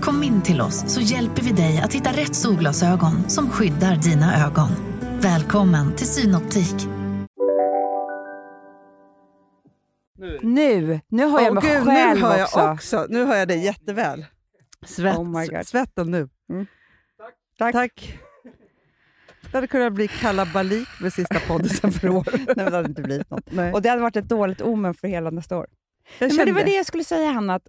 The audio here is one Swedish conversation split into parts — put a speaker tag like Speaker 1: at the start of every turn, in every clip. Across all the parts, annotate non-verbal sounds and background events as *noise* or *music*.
Speaker 1: Kom in till oss så hjälper vi dig att hitta rätt solglasögon som skyddar dina ögon. Välkommen till Synoptik.
Speaker 2: Nu, nu hör jag mig
Speaker 3: Åh, gud,
Speaker 2: själv
Speaker 3: nu hör jag
Speaker 2: också.
Speaker 3: också. Nu hör jag dig jätteväl. Svett,
Speaker 2: Oh my God.
Speaker 3: Svetten nu. Mm. Tack. Tack. Det hade kunnat bli kalabalik med sista podden sen för år.
Speaker 2: *laughs* Nej, men det hade inte blivit något.
Speaker 3: Nej.
Speaker 2: Och det hade varit ett dåligt omen för hela nästa år. Nej, men
Speaker 3: Jag
Speaker 2: det
Speaker 3: kände
Speaker 2: var det jag skulle säga, Hanna. Att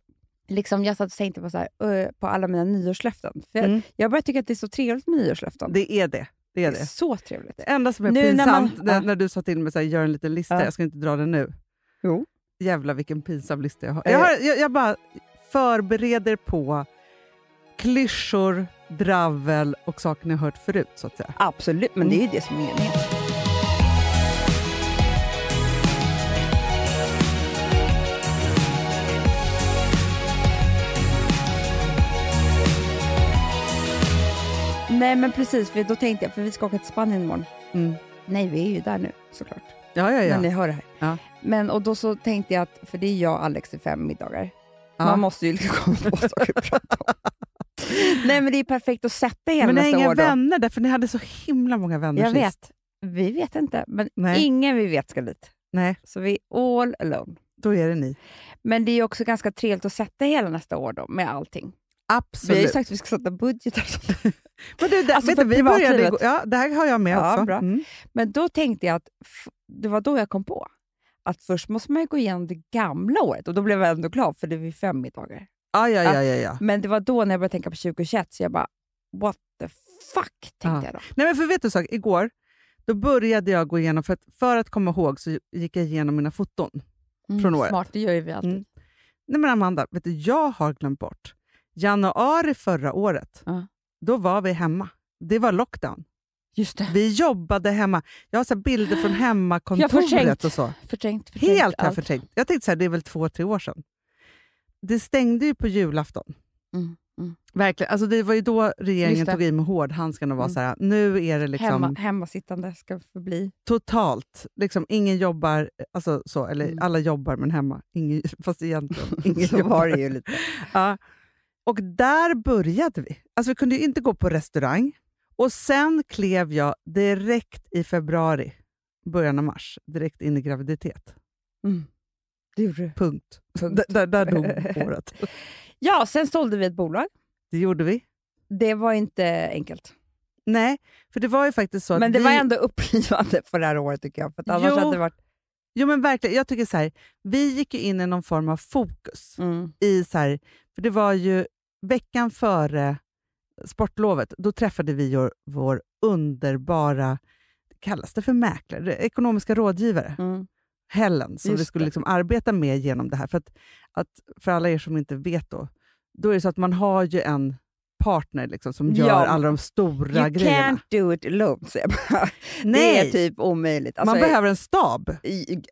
Speaker 2: liksom, jag satt och tänkte på, så här, eh, på alla mina nyårslöften. För jag,
Speaker 3: Mm.
Speaker 2: jag börjar tycka att det är så trevligt med nyårslöften.
Speaker 3: det är det. Det är det.
Speaker 2: så trevligt.
Speaker 3: Det enda som är
Speaker 2: Nu när
Speaker 3: pinsamt,
Speaker 2: man-
Speaker 3: när,
Speaker 2: ja.
Speaker 3: när du sa till mig att gör en liten lista,
Speaker 2: Ja.
Speaker 3: jag ska inte dra den nu.
Speaker 2: Jo.
Speaker 3: Jävlar vilken pinsam lista jag har.
Speaker 2: Eh.
Speaker 3: Jag, har, jag, jag bara förbereder på klyschor, dravel och saker ni har hört förut. Så att säga.
Speaker 2: Absolut, men det är ju det som är meningen. Nej men precis, för då tänkte jag, för vi ska åka till Spanien imorgon.
Speaker 3: Mm.
Speaker 2: Nej, vi är ju där nu såklart.
Speaker 3: Ja, ja, ja.
Speaker 2: Men ni hör det här.
Speaker 3: Ja.
Speaker 2: Men, och då så tänkte jag att, för det är jag och Alex i fem middagar.
Speaker 3: Ja.
Speaker 2: Man måste ju liksom komma på saker att prata
Speaker 3: *laughs*
Speaker 2: om. Nej men det är perfekt att sätta hela
Speaker 3: men ni har
Speaker 2: nästa
Speaker 3: inga
Speaker 2: år då.
Speaker 3: vänner där, för ni hade så himla många vänner
Speaker 2: Jag
Speaker 3: sist.
Speaker 2: vet. Vi vet inte, men
Speaker 3: Nej.
Speaker 2: ingen vi vet ska dit.
Speaker 3: Nej,
Speaker 2: Så vi är all alone.
Speaker 3: då är det ni.
Speaker 2: Men det är ju också ganska trevligt att sätta hela nästa år då, med allting. Vi har ju
Speaker 3: Absolut.
Speaker 2: sagt att vi ska sätta budgetar och sånt. *laughs*
Speaker 3: Men du, det,
Speaker 2: Alltså,
Speaker 3: vet du,
Speaker 2: för
Speaker 3: vi började
Speaker 2: privatlivet.
Speaker 3: igår- ja, det här har jag med
Speaker 2: Ja,
Speaker 3: också.
Speaker 2: bra.
Speaker 3: Mm.
Speaker 2: Men då tänkte jag att f- det var då jag kom på att först måste man ju gå igenom det gamla året och då blev jag ändå glad för det var ju fem middagar.
Speaker 3: Ja, ja, ja, ja, ja.
Speaker 2: Men det var då när jag började tänka på 2021 så jag bara what the fuck tänkte
Speaker 3: Ja.
Speaker 2: jag då.
Speaker 3: Nej, men för vet du en sak? Igår då började jag gå igenom, för att, för att komma ihåg så gick jag igenom mina foton. Från
Speaker 2: Mm,
Speaker 3: året.
Speaker 2: Smart, det gör ju vi alltid.
Speaker 3: Mm. Nej men Amanda, vet du, jag har glömt bort. Januari förra året,
Speaker 2: Ja.
Speaker 3: då var vi hemma. Det var lockdown.
Speaker 2: Just det.
Speaker 3: Vi jobbade hemma. Jag har så här bilder från hemmakontoret
Speaker 2: förträngt.
Speaker 3: och så.
Speaker 2: Förträngt, förträngt.
Speaker 3: Helt har jag
Speaker 2: allt.
Speaker 3: förträngt. Jag tänkte så här, det är väl två, tre år sedan. Det stängde ju på julafton.
Speaker 2: Mm, mm.
Speaker 3: Verkligen. Alltså det var ju då regeringen
Speaker 2: Just det.
Speaker 3: tog i med hårdhandskarna och var
Speaker 2: Mm.
Speaker 3: så här, nu är det liksom
Speaker 2: Hemma, hemmasittande ska förbli.
Speaker 3: totalt. Liksom, ingen jobbar, alltså så, eller
Speaker 2: Mm.
Speaker 3: alla jobbar men hemma. Ingen, *laughs*
Speaker 2: *laughs*
Speaker 3: fast egentligen, ingen
Speaker 2: Så var
Speaker 3: jobbar.
Speaker 2: det ju lite.
Speaker 3: *laughs* Ja. Och där började vi. Alltså vi kunde ju inte gå på restaurang. Och sen klev jag direkt i februari, början av mars, direkt in i graviditet.
Speaker 2: Mm. Det gjorde du.
Speaker 3: Punkt.
Speaker 2: Punkt.
Speaker 3: Där, där, där *laughs* dog året.
Speaker 2: Ja, sen sålde vi ett bolag.
Speaker 3: Det gjorde vi.
Speaker 2: Det var inte enkelt.
Speaker 3: Nej, för det var ju faktiskt så att
Speaker 2: Men det
Speaker 3: vi...
Speaker 2: var ändå upplivande för det här året tycker jag. För att annars
Speaker 3: Jo.
Speaker 2: hade det varit...
Speaker 3: Jo men verkligen, jag tycker så här, vi gick ju in i någon form av fokus.
Speaker 2: Mm.
Speaker 3: i så här, för det var ju veckan före sportlovet, då träffade vi ju vår underbara, kallas det för mäklare, ekonomiska rådgivare,
Speaker 2: Mm.
Speaker 3: Helen, som vi
Speaker 2: Just
Speaker 3: skulle
Speaker 2: det.
Speaker 3: liksom arbeta med genom det här. För, att, att, för alla er som inte vet då, då är det så att man har ju en partner liksom, som gör
Speaker 2: Ja.
Speaker 3: alla de stora
Speaker 2: You
Speaker 3: grejerna.
Speaker 2: can't do it alone, säger jag bara. Det
Speaker 3: Nej,
Speaker 2: är typ omöjligt. Alltså,
Speaker 3: man behöver en stab.
Speaker 2: i- i-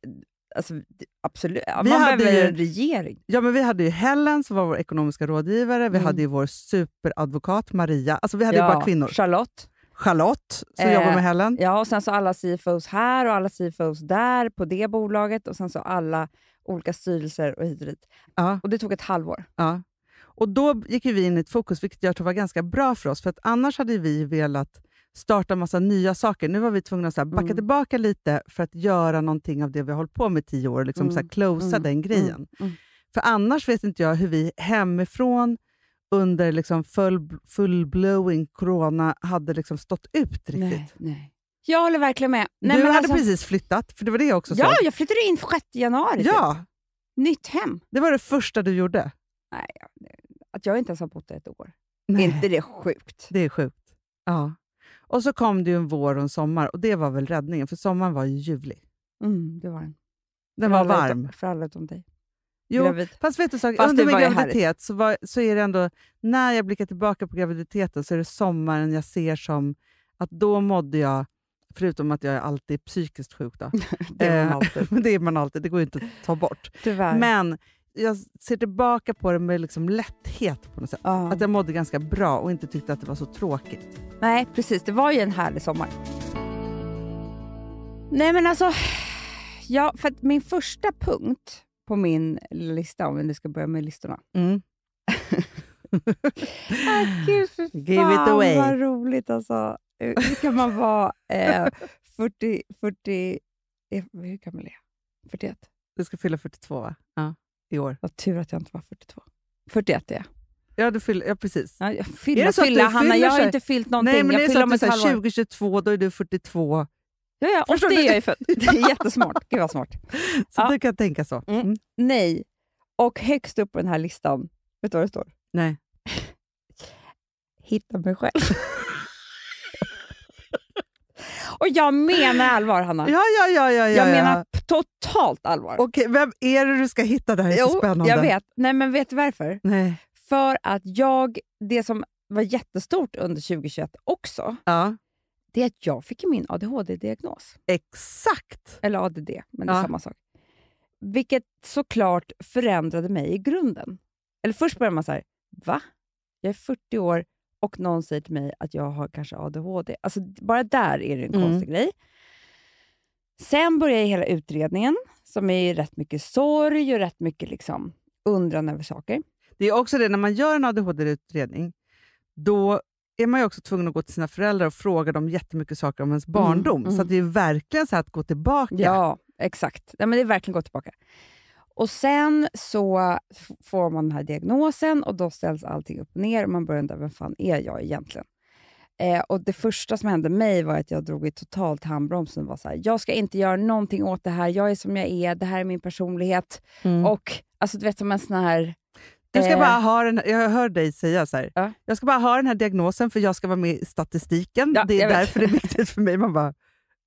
Speaker 2: Alltså, det- absolut. Ja,
Speaker 3: Vi
Speaker 2: Man
Speaker 3: hade
Speaker 2: behöver
Speaker 3: ju-
Speaker 2: en regering.
Speaker 3: Ja, men vi hade ju Helen som var vår ekonomiska rådgivare, vi
Speaker 2: Mm.
Speaker 3: hade ju vår superadvokat Maria, alltså vi hade ju
Speaker 2: Ja,
Speaker 3: bara kvinnor.
Speaker 2: Charlotte.
Speaker 3: Charlotte som
Speaker 2: Eh,
Speaker 3: jobbar med Helen.
Speaker 2: Ja, och sen så alla CFOs här och alla CFOs där på det bolaget och sen så alla olika styrelser och hit och dit.
Speaker 3: Ja,
Speaker 2: Och det tog ett halvår.
Speaker 3: ja. Och då gick ju vi in i ett fokus, vilket jag tror var ganska bra för oss. För att annars hade vi velat starta massa nya saker. Nu var vi tvungna att så här backa
Speaker 2: Mm.
Speaker 3: tillbaka lite för att göra någonting av det vi har hållit på med i tio år. Liksom
Speaker 2: Mm.
Speaker 3: så här closea
Speaker 2: Mm.
Speaker 3: den grejen.
Speaker 2: Mm. Mm.
Speaker 3: För annars vet inte jag hur vi hemifrån under liksom full, full-blowing corona hade liksom stått ut riktigt.
Speaker 2: Nej, nej. Jag håller verkligen med.
Speaker 3: Du
Speaker 2: Nej, men
Speaker 3: hade
Speaker 2: alltså-
Speaker 3: precis flyttat, för det var det jag också
Speaker 2: Ja,
Speaker 3: sa.
Speaker 2: jag flyttade in 6 januari. typ.
Speaker 3: Ja,
Speaker 2: Nytt hem.
Speaker 3: det var det första du gjorde.
Speaker 2: Nej, jag- att jag inte ens har bott där ett år.
Speaker 3: Nej.
Speaker 2: inte det sjukt?
Speaker 3: Det är sjukt. Ja. Och så kom det ju en vår och en sommar och det var väl räddningen, för sommaren var ju ljuvlig.
Speaker 2: Mm, det var den. För
Speaker 3: Den var
Speaker 2: alla
Speaker 3: varm.
Speaker 2: Utom, för alla utom dig.
Speaker 3: Jo,
Speaker 2: gravid.
Speaker 3: Fast vet du sak,
Speaker 2: Fast
Speaker 3: under
Speaker 2: det
Speaker 3: min
Speaker 2: var ju
Speaker 3: graviditet så, var, så är det ändå, när jag blickar tillbaka på graviditeten så är det sommaren jag ser som att då mådde jag, förutom att jag alltid är psykiskt sjuk då,
Speaker 2: *laughs* Det är man
Speaker 3: Eh,
Speaker 2: alltid.
Speaker 3: men *laughs* det är man alltid, det går ju inte att ta bort.
Speaker 2: Tyvärr.
Speaker 3: Men jag ser tillbaka på det med liksom lätthet på något sätt.
Speaker 2: Ja.
Speaker 3: Att jag mådde ganska bra och inte tyckte att det var så tråkigt.
Speaker 2: Nej, precis. Det var ju en härlig sommar. Nej, men alltså... Ja, för att min första punkt på min lilla lista, om vi nu ska börja med listorna.
Speaker 3: Mm.
Speaker 2: Ah, gud, *laughs* fy
Speaker 3: Give
Speaker 2: fan,
Speaker 3: it away.
Speaker 2: vad roligt alltså. Hur hur kan man vara *laughs* eh, 40, 40... eh, Hur gammal är jag? 41?
Speaker 3: Du ska fylla 42 va? Ja. I år.
Speaker 2: Vad tur att jag inte var 42. 41 är jag.
Speaker 3: Ja, du fyller, ja precis.
Speaker 2: Ja, jag fylla,
Speaker 3: det så att
Speaker 2: fylla,
Speaker 3: du
Speaker 2: Hanna.
Speaker 3: fyller
Speaker 2: Jag har
Speaker 3: sig?
Speaker 2: inte fyllt någonting.
Speaker 3: Nej, men
Speaker 2: jag
Speaker 3: det är så
Speaker 2: fyller
Speaker 3: att
Speaker 2: om
Speaker 3: du
Speaker 2: ett
Speaker 3: säger
Speaker 2: halvår.
Speaker 3: 2022, då är du 42.
Speaker 2: Ja, ja, och
Speaker 3: Förstår
Speaker 2: det
Speaker 3: du?
Speaker 2: är jag ju
Speaker 3: *laughs*
Speaker 2: född. Det är jättesmart. Gud vad smart.
Speaker 3: Så
Speaker 2: Ja.
Speaker 3: du kan tänka så.
Speaker 2: Mm.
Speaker 3: Mm.
Speaker 2: Nej. Och högst upp på den här listan, vet du vad det står?
Speaker 3: Nej.
Speaker 2: Hitta mig
Speaker 3: *laughs*
Speaker 2: själv. och jag menar allvar, Hanna.
Speaker 3: Ja, ja, ja. ja, ja
Speaker 2: jag menar
Speaker 3: ja.
Speaker 2: p- totalt allvar.
Speaker 3: Okej, vem är det du ska hitta? Det här är så spännande.
Speaker 2: jag vet. Nej, men vet du varför?
Speaker 3: Nej.
Speaker 2: För att jag, det som var jättestort under 2021 också,
Speaker 3: Ja,
Speaker 2: det är att jag fick min ADHD-diagnos.
Speaker 3: exakt.
Speaker 2: Eller ADD, men det är
Speaker 3: Ja.
Speaker 2: samma sak. Vilket såklart förändrade mig i grunden. Eller först börjar man så här, va? Jag är 40 år och någon säger till mig att jag har kanske ADHD. Alltså bara där är det en
Speaker 3: Mm.
Speaker 2: konstig grej. Sen börjar ju hela utredningen, som är rätt mycket sorg och rätt mycket liksom undran över saker.
Speaker 3: Det är också det, när man gör en ADHD-utredning, då är man ju också tvungen att gå till sina föräldrar och fråga dem jättemycket saker om ens barndom.
Speaker 2: mm.
Speaker 3: Så att det är verkligen så här att gå tillbaka.
Speaker 2: Ja, exakt. Nej, men det är verkligen gå tillbaka. Och Sen så f- får man den här diagnosen och då ställs allting upp och ner och man börjar undra vem fan är jag egentligen. Eh, och Det första som hände mig var att jag drog i totalt handbromsen och var så här, jag ska inte göra någonting åt det här, jag är som jag är, det här är min personlighet.
Speaker 3: Mm.
Speaker 2: Och alltså du vet som en sån här...
Speaker 3: Du ska
Speaker 2: eh,
Speaker 3: bara ha den, här- jag hör dig säga så här.
Speaker 2: Ja.
Speaker 3: jag ska bara ha den här diagnosen för jag ska vara med i statistiken.
Speaker 2: Ja,
Speaker 3: det är
Speaker 2: jag vet.
Speaker 3: därför det är viktigt för mig. Man bara,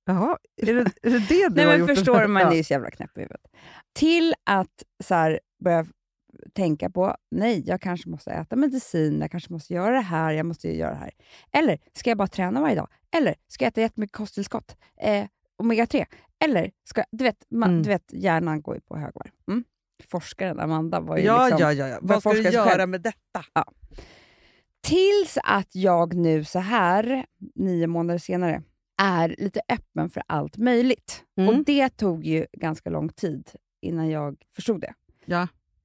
Speaker 3: jaha, är det är det, det du
Speaker 2: Nej
Speaker 3: har
Speaker 2: men
Speaker 3: gjort?
Speaker 2: förstår du, man är
Speaker 3: *laughs* Ja.
Speaker 2: ju så jävla knäpp i huvudet. Till att så här, börja tänka på, nej, jag kanske måste äta medicin, jag kanske måste göra det här, jag måste ju göra det här. Eller, ska jag bara träna varje dag? Eller, ska jag äta jättemycket kosttillskott? Eh, Omega-3? Eller, ska du vet, man,
Speaker 3: Mm.
Speaker 2: du vet, hjärnan går ju på högvarv. Mm. Forskaren Amanda var ju
Speaker 3: Ja,
Speaker 2: liksom...
Speaker 3: ja, ja, ja.
Speaker 2: man
Speaker 3: Vad ska du
Speaker 2: forskar sig
Speaker 3: göra
Speaker 2: själv.
Speaker 3: med detta?
Speaker 2: Tills att jag nu så här, nio månader senare, är lite öppen för allt möjligt.
Speaker 3: Mm.
Speaker 2: Och det tog ju ganska lång tid innan jag förstod det.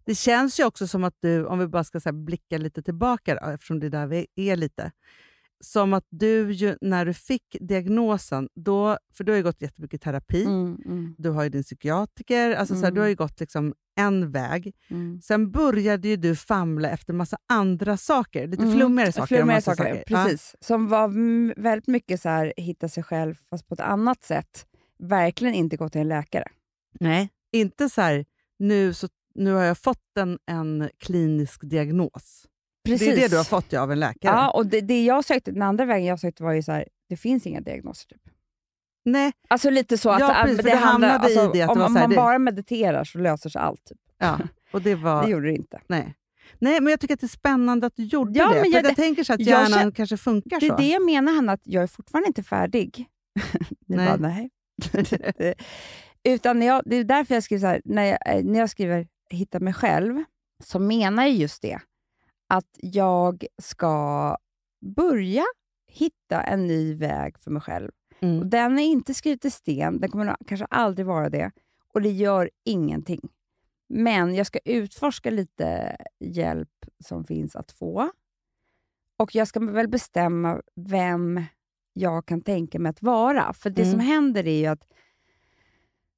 Speaker 3: Det känns ju också som att du, om vi bara ska så här blicka lite tillbaka, då, eftersom det är där vi är lite, som att du ju, när du fick diagnosen, då, för du har ju gått jättemycket terapi, du har ju din psykiatriker, alltså så här,
Speaker 2: Mm.
Speaker 3: du har ju gått liksom en väg. Sen började ju du famla efter massa andra saker, lite
Speaker 2: Mm.
Speaker 3: flummigare saker. om
Speaker 2: Flummigare
Speaker 3: man säger
Speaker 2: saker,
Speaker 3: Ja.
Speaker 2: precis. Som var mm, väldigt mycket så här, hitta sig själv, fast på ett annat sätt. Verkligen inte gå till en läkare.
Speaker 3: Nej. Inte så här, nu, så, nu har jag fått en, en klinisk diagnos.
Speaker 2: Precis.
Speaker 3: Det är det du har fått ja, av en läkare.
Speaker 2: Ja, och det, det jag sökte, den andra vägen jag sökte var ju så här, det finns inga diagnoser. Typ.
Speaker 3: Nej,
Speaker 2: Alltså lite så att
Speaker 3: Ja, precis,
Speaker 2: äh,
Speaker 3: för det hamnade i det att det
Speaker 2: om,
Speaker 3: var
Speaker 2: om
Speaker 3: så här,
Speaker 2: man
Speaker 3: det-
Speaker 2: bara mediterar så löser sig allt. Typ.
Speaker 3: ja. Och det var...
Speaker 2: Det gjorde det inte.
Speaker 3: Nej. Nej, men jag tycker att det är spännande att du gjorde
Speaker 2: Ja,
Speaker 3: det.
Speaker 2: men
Speaker 3: för
Speaker 2: jag-
Speaker 3: att jag tänker så att
Speaker 2: jag
Speaker 3: hjärnan
Speaker 2: känner-
Speaker 3: kanske funkar
Speaker 2: Det
Speaker 3: så.
Speaker 2: är det jag menar, Hanna, att jag är fortfarande inte färdig. *laughs* Ni
Speaker 3: Nej.
Speaker 2: bara, nej. *laughs* Utan när jag, det är därför jag skriver så här, när jag, eh, när jag skriver hitta mig själv, så menar jag just det, att jag ska börja hitta en ny väg för mig själv. Och
Speaker 3: Mm.
Speaker 2: den är inte skriven i sten, den kommer nog kanske aldrig vara det, och det gör ingenting. Men jag ska utforska lite hjälp som finns att få. Och jag ska väl bestämma vem jag kan tänka mig att vara. För det
Speaker 3: Mm.
Speaker 2: som händer är ju att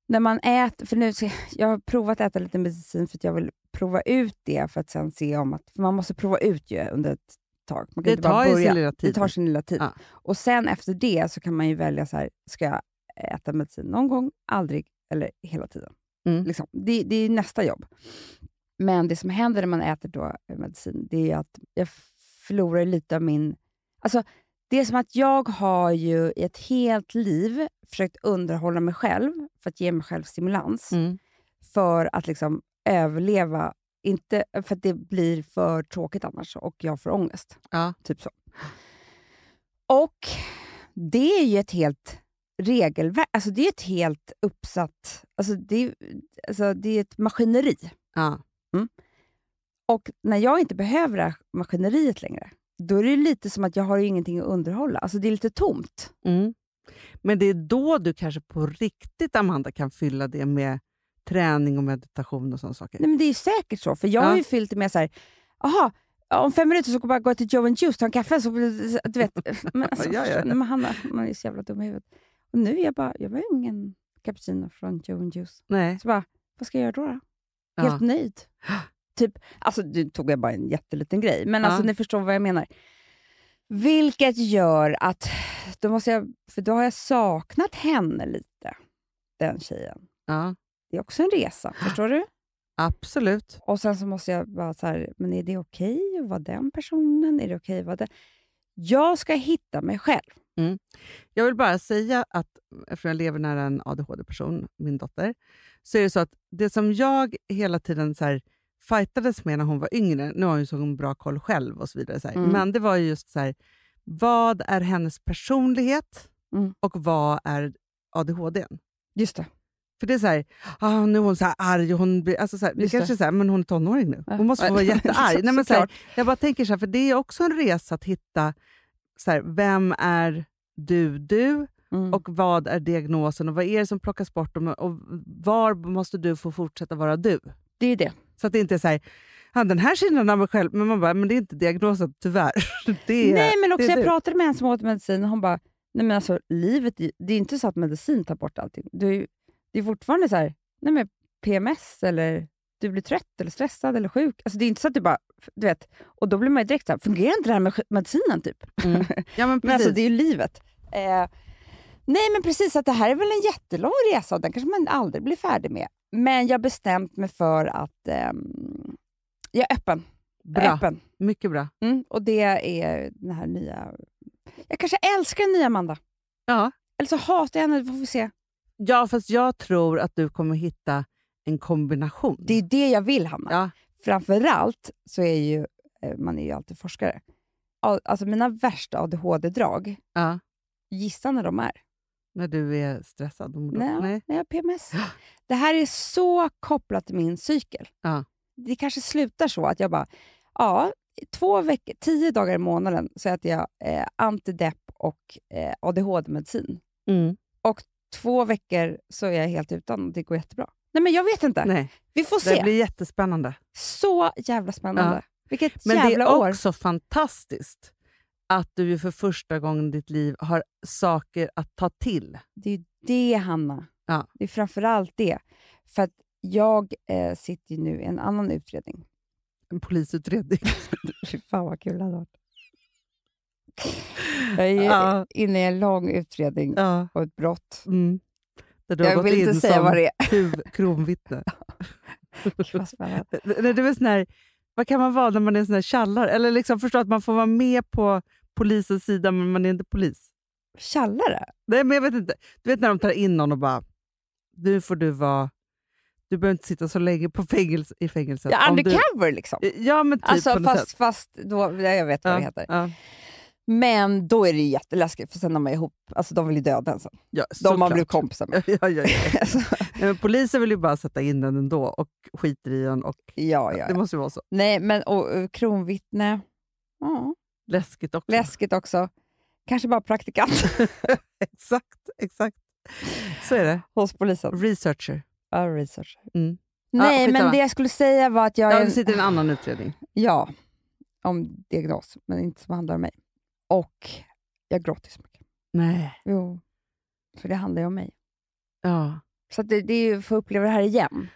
Speaker 2: när man äter... För nu, ska- jag har provat att äta lite medicin för att jag vill prova ut det för att sen se om att... För man måste prova ut ju under ett tag. Man kan
Speaker 3: Det
Speaker 2: inte bara
Speaker 3: tar ju
Speaker 2: börja.
Speaker 3: sin lilla tid.
Speaker 2: Det tar sin lilla tid.
Speaker 3: Ja.
Speaker 2: Och sen efter det så kan man ju välja så här, ska jag äta medicin någon gång, aldrig eller hela tiden.
Speaker 3: Mm.
Speaker 2: Liksom. Det, det är nästa jobb. Men det som händer när man äter då eh, medicin, det är ju att jag förlorar ju lite av min... Alltså, det är som att jag har ju i ett helt liv försökt underhålla mig själv för att ge mig själv stimulans
Speaker 3: Mm.
Speaker 2: för att liksom överleva, inte, för att det blir för tråkigt annars och jag får ångest.
Speaker 3: Ja.
Speaker 2: Typ så. Och det är ju ett helt regelverk, alltså det är ett helt uppsatt, alltså det, alltså det är ett maskineri.
Speaker 3: Ja.
Speaker 2: Och när jag inte behöver det här maskineriet längre, då är det ju lite som att jag har ju ingenting att underhålla. Alltså det är lite tomt.
Speaker 3: Mm. Men det är då du kanske på riktigt, Amanda, kan fylla det med träning och meditation och sådana saker.
Speaker 2: Nej, men det är ju säkert så, för jag
Speaker 3: Ja.
Speaker 2: har ju fyllt det med så här, aha, om fem minuter så går jag bara gå till Joe and Juice, ta en kaffe. Så, blir det- du
Speaker 3: *laughs*
Speaker 2: vet. Men alltså,
Speaker 3: Ja, ja.
Speaker 2: förstår- Nej, men Hanna, man är ju så jävla dum i huvudet. Och nu är jag bara, jag behöver ingen cappuccino från Joe and Juice.
Speaker 3: Nej.
Speaker 2: Så bara, vad ska jag göra då? då?
Speaker 3: Ja.
Speaker 2: Helt nöjd. Typ, alltså, nu tog jag bara en jätteliten grej, men
Speaker 3: Ja.
Speaker 2: alltså, ni förstår vad jag menar. Vilket gör att, då, måste jag, för då har jag saknat henne lite, den tjejen.
Speaker 3: Ja,
Speaker 2: Det är också en
Speaker 3: *gasps*
Speaker 2: resa, förstår du?
Speaker 3: absolut.
Speaker 2: Och sen så måste jag bara så här, men är det okej att vara den personen? Är det okej att vara den? Jag ska hitta mig själv.
Speaker 3: Mm. Jag vill bara säga att eftersom jag lever nära en ADHD-person, min dotter, så är det så att det som jag hela tiden så här fightades med när hon var yngre, nu har hon ju så hon bra koll själv och så vidare, så här.
Speaker 2: Mm.
Speaker 3: men det var ju just så här, vad är hennes personlighet
Speaker 2: Mm.
Speaker 3: och vad är ADHD? n?
Speaker 2: Just det.
Speaker 3: För det är så här, ah, nu är hon så här arg, och hon blir, alltså så här, det
Speaker 2: Just det.
Speaker 3: kanske är så här, men hon är tonåring nu,
Speaker 2: Ja. *laughs*
Speaker 3: hon måste få vara jättearg. Nej, men så här,
Speaker 2: Såklart.
Speaker 3: jag bara tänker så här, för det är också en resa att hitta, så här, vem är du, du?
Speaker 2: Mm.
Speaker 3: och vad är diagnosen och vad är det som plockas bort och, och var måste du få fortsätta vara du?
Speaker 2: det är ju det.
Speaker 3: Så att det inte är så här, "Ja, den här sidan av mig själv, men man bara, men det är inte diagnosen, tyvärr. *laughs* Det är,
Speaker 2: Nej, men också
Speaker 3: det är
Speaker 2: jag
Speaker 3: du.
Speaker 2: pratade med en som åt medicin och hon bara, nej men alltså livet, är- det är inte så att medicin tar bort allting. Du, är ju- det är fortfarande så här, nej men PMS eller du blir trött eller stressad eller sjuk. Alltså det är inte så att du bara, du vet, och då blir man ju direkt så här, fungerar inte det här med sj- medicinen typ?
Speaker 3: Ja, men
Speaker 2: Men alltså,
Speaker 3: precis.
Speaker 2: det är ju livet. Eh, nej, men precis. att Det här är väl en jättelång resa och den kanske man aldrig blir färdig med. Men jag har bestämt mig för att ehm, jag är öppen. Jag är
Speaker 3: bra.
Speaker 2: öppen.
Speaker 3: Mycket bra.
Speaker 2: Mm, och det är den här nya... Jag kanske älskar den nya Amanda.
Speaker 3: Ja.
Speaker 2: Eller så hatar jag henne, det får vi se.
Speaker 3: ja, fast jag tror att du kommer hitta en kombination.
Speaker 2: Det är ju det jag vill, Hanna.
Speaker 3: Mm. Ja.
Speaker 2: Framförallt så är ju, eh, man är ju alltid forskare. Al- Alltså mina värsta ADHD-drag,
Speaker 3: ja.
Speaker 2: gissa när de är.
Speaker 3: När du är stressad. och mår dåligt.
Speaker 2: Nej,
Speaker 3: Nej.
Speaker 2: jag har PMS. Det här är så kopplat till min cykel.
Speaker 3: Ja.
Speaker 2: Det kanske slutar så att jag bara, ja, i två veckor, tio dagar i månaden så äter jag eh, antidepp och eh, ADHD-medicin.
Speaker 3: Mm.
Speaker 2: Två veckor så är jag helt utan och det går jättebra. Nej, men jag vet inte.
Speaker 3: Nej.
Speaker 2: Vi får
Speaker 3: Det
Speaker 2: se.
Speaker 3: blir jättespännande.
Speaker 2: Så jävla spännande.
Speaker 3: Ja.
Speaker 2: Vilket
Speaker 3: Men det
Speaker 2: jävla
Speaker 3: är
Speaker 2: år.
Speaker 3: också fantastiskt att du ju för första gången i ditt liv har saker att ta till.
Speaker 2: Det är ju det, Hanna.
Speaker 3: Ja.
Speaker 2: Det är framförallt det. För att jag eh, sitter ju nu i en annan utredning.
Speaker 3: *laughs* En polisutredning.
Speaker 2: Fy fan vad kul det hade varit. Jag är
Speaker 3: Ja.
Speaker 2: inne i en lång utredning
Speaker 3: *laughs* Ja.
Speaker 2: och ett brott.
Speaker 3: Mm. Där du
Speaker 2: Jag
Speaker 3: har gått
Speaker 2: vill inte
Speaker 3: in
Speaker 2: säga
Speaker 3: som
Speaker 2: vad
Speaker 3: *laughs*
Speaker 2: det är.
Speaker 3: huv- kronvittne.
Speaker 2: *laughs* Gud, vad spännande.
Speaker 3: *laughs* Nej, det är sån här, vad kan man vara när man är sån här tjallar? Eller liksom förstå att man får vara med på polisens sida, men man är inte polis.
Speaker 2: Tjallare?
Speaker 3: Nej, men jag vet inte. Du vet när de tar in någon och bara, nu får du vara... Du behöver inte sitta så länge på fängelse, i fängelset.
Speaker 2: Ja,
Speaker 3: om
Speaker 2: undercover liksom.
Speaker 3: Du, ja, men typ på
Speaker 2: alltså,
Speaker 3: något sätt.
Speaker 2: fast, fast då, ja, jag vet vad
Speaker 3: Ja,
Speaker 2: det heter.
Speaker 3: ja.
Speaker 2: Men då är det ju jätteläskigt, för sen när man är ihop, alltså de vill ju döda en sen.
Speaker 3: Ja,
Speaker 2: De man
Speaker 3: såklart.
Speaker 2: blir kompisar med.
Speaker 3: *laughs*
Speaker 2: *laughs*
Speaker 3: Ja, ja, ja.
Speaker 2: Alltså,
Speaker 3: Nej, men polisen vill ju bara sätta in den ändå och skiter i den. Och,
Speaker 2: ja, ja,
Speaker 3: Det
Speaker 2: ja.
Speaker 3: måste ju vara så
Speaker 2: Nej, men och, och, kronvittne, ja,
Speaker 3: läskigt också.
Speaker 2: läskigt också. Kanske bara praktikant
Speaker 3: *laughs*
Speaker 2: *laughs*
Speaker 3: Exakt, exakt. Så är det.
Speaker 2: hos polisen.
Speaker 3: Researcher.
Speaker 2: Ja, research.
Speaker 3: Mm. Ja,
Speaker 2: Nej,
Speaker 3: skitsamma.
Speaker 2: men det jag skulle säga var att jag är
Speaker 3: Ja,
Speaker 2: en-
Speaker 3: du sitter i en annan utredning.
Speaker 2: Ja, om diagnos, men inte som handlar om mig. Och jag gråter så mycket.
Speaker 3: Nej.
Speaker 2: Jo. För det handlar ju om mig.
Speaker 3: Ja,
Speaker 2: Så att det, det är ju för att uppleva det här igen.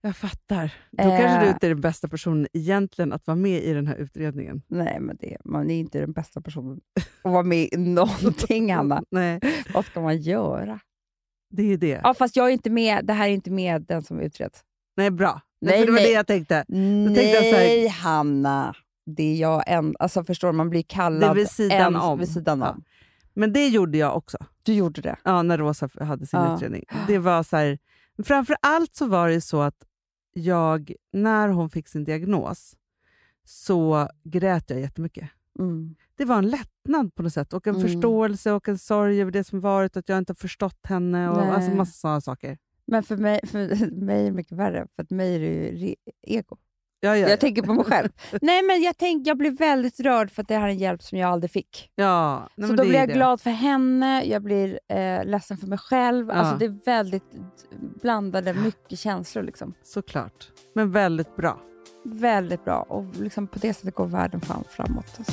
Speaker 3: jag fattar. Då
Speaker 2: Eh.
Speaker 3: kanske du inte är den bästa personen egentligen att vara med i den här utredningen.
Speaker 2: Nej, men det, man är inte den bästa personen att vara med i någonting, Hanna.
Speaker 3: Nej,
Speaker 2: Vad ska man göra?
Speaker 3: det är ju det.
Speaker 2: Ja, fast jag är inte med. Det här är inte med den som utreds.
Speaker 3: Nej, bra. Nej,
Speaker 2: Nej,
Speaker 3: för det var
Speaker 2: nej.
Speaker 3: det jag tänkte. tänkte jag så här-
Speaker 2: Nej, Hanna. Det är jag en, alltså förstår du, man blir kallad
Speaker 3: Det är vid sidan
Speaker 2: en,
Speaker 3: om.
Speaker 2: vid sidan
Speaker 3: Ja.
Speaker 2: om.
Speaker 3: Men det gjorde jag också.
Speaker 2: Du gjorde det.
Speaker 3: Ja, när Rosa f- hade sin
Speaker 2: Ja.
Speaker 3: utredning. Det var så här, framför allt så var det ju så att jag, när hon fick sin diagnos så grät jag jättemycket.
Speaker 2: Mm.
Speaker 3: Det var en lättnad på något sätt och en
Speaker 2: Mm.
Speaker 3: förståelse och en sorg över det som varit, att jag inte har förstått henne och
Speaker 2: Nej.
Speaker 3: alltså massa sådana saker.
Speaker 2: Men för mig, för *laughs* mig är det mycket värre, för att mig är det ju re- ego.
Speaker 3: Ja, ja, ja.
Speaker 2: Jag tänker på mig själv. Nej, men jag, tänk, jag blev väldigt rörd för att det här är en hjälp som jag aldrig fick.
Speaker 3: ja, nej,
Speaker 2: så
Speaker 3: men
Speaker 2: då
Speaker 3: det
Speaker 2: blir
Speaker 3: är
Speaker 2: jag
Speaker 3: det.
Speaker 2: glad för henne, jag blir eh, ledsen för mig själv. Alltså
Speaker 3: Ja.
Speaker 2: det är väldigt blandade, mycket känslor. Liksom.
Speaker 3: Såklart. Men väldigt bra.
Speaker 2: Väldigt bra och liksom på det sättet går världen fram, framåt. Alltså.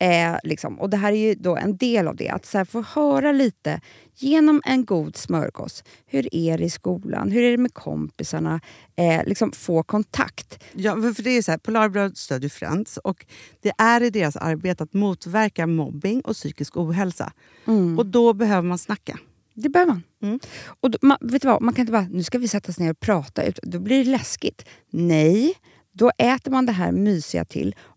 Speaker 2: Eh, liksom. Och det här är ju då en del av det. Att så här, få höra lite genom en god smörgås. Hur är det i skolan? Hur är det med kompisarna? Eh, liksom få kontakt.
Speaker 3: Ja, men för det är så här, Polarbröd stödjer Friends och det är i deras arbete att motverka mobbing och psykisk ohälsa.
Speaker 2: Mm.
Speaker 3: Och då behöver man snacka.
Speaker 2: Det behöver man.
Speaker 3: Mm.
Speaker 2: Och då, man, vet du vad? man kan inte bara, nu ska vi sätta oss ner och prata, ut. då blir det läskigt. Nej, då äter man det här mysiga till.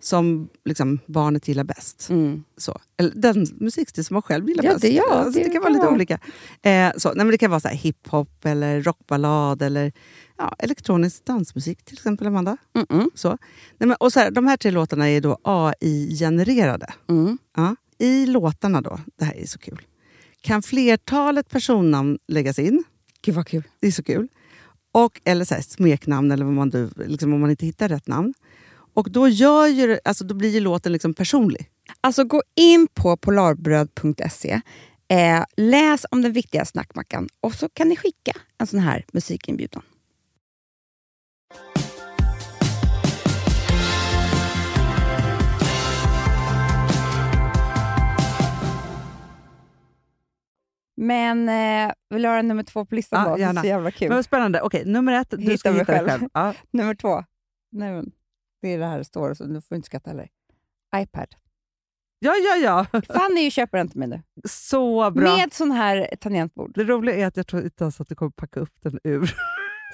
Speaker 3: som liksom, barnet gillar bäst. Så. Eller den musikstil som man själv gillar
Speaker 2: Mm. Ja,
Speaker 3: bäst.
Speaker 2: det- ja,
Speaker 3: alltså, det,
Speaker 2: det
Speaker 3: kan vara
Speaker 2: kan
Speaker 3: lite
Speaker 2: vara.
Speaker 3: olika. Eh, så. Nej, men det kan vara så här hiphop, eller rockballad eller ja, elektronisk dansmusik till exempel, Amanda.
Speaker 2: Mm-mm.
Speaker 3: Så. Nej, men, och så här, de här tre låtarna är då AI-genererade.
Speaker 2: Mm.
Speaker 3: Ja. I låtarna då, det här är så kul, kan flertalet personnamn läggas in.
Speaker 2: Gud vad kul.
Speaker 3: Det är så kul. Och, eller så här, smeknamn, eller vad man, du- liksom, om man inte hittar rätt namn. Och då, gör ju, det- alltså, då blir ju låten liksom personlig.
Speaker 2: Alltså gå in på polarbröd.se, eh, läs om den viktiga snackmackan och så kan ni skicka en sån här musikinbjudan. Men eh, vill du höra nummer två på listan
Speaker 3: Ja,
Speaker 2: då? Det är
Speaker 3: gärna.
Speaker 2: så jävla kul.
Speaker 3: Men vad spännande. Okej, nummer ett, du
Speaker 2: Hittar
Speaker 3: ska
Speaker 2: mig
Speaker 3: hitta dig
Speaker 2: själv.
Speaker 3: själv. Ja.
Speaker 2: Nummer två. Nej, men, det är det här det står, så du får inte skratta heller.
Speaker 3: *laughs*
Speaker 2: Ipad.
Speaker 3: ja, ja, ja.
Speaker 2: Fanny köper den till mig nu.
Speaker 3: Så bra.
Speaker 2: Med sån här tangentbord.
Speaker 3: Det roliga är att jag tror inte ens att du kommer packa upp den ur.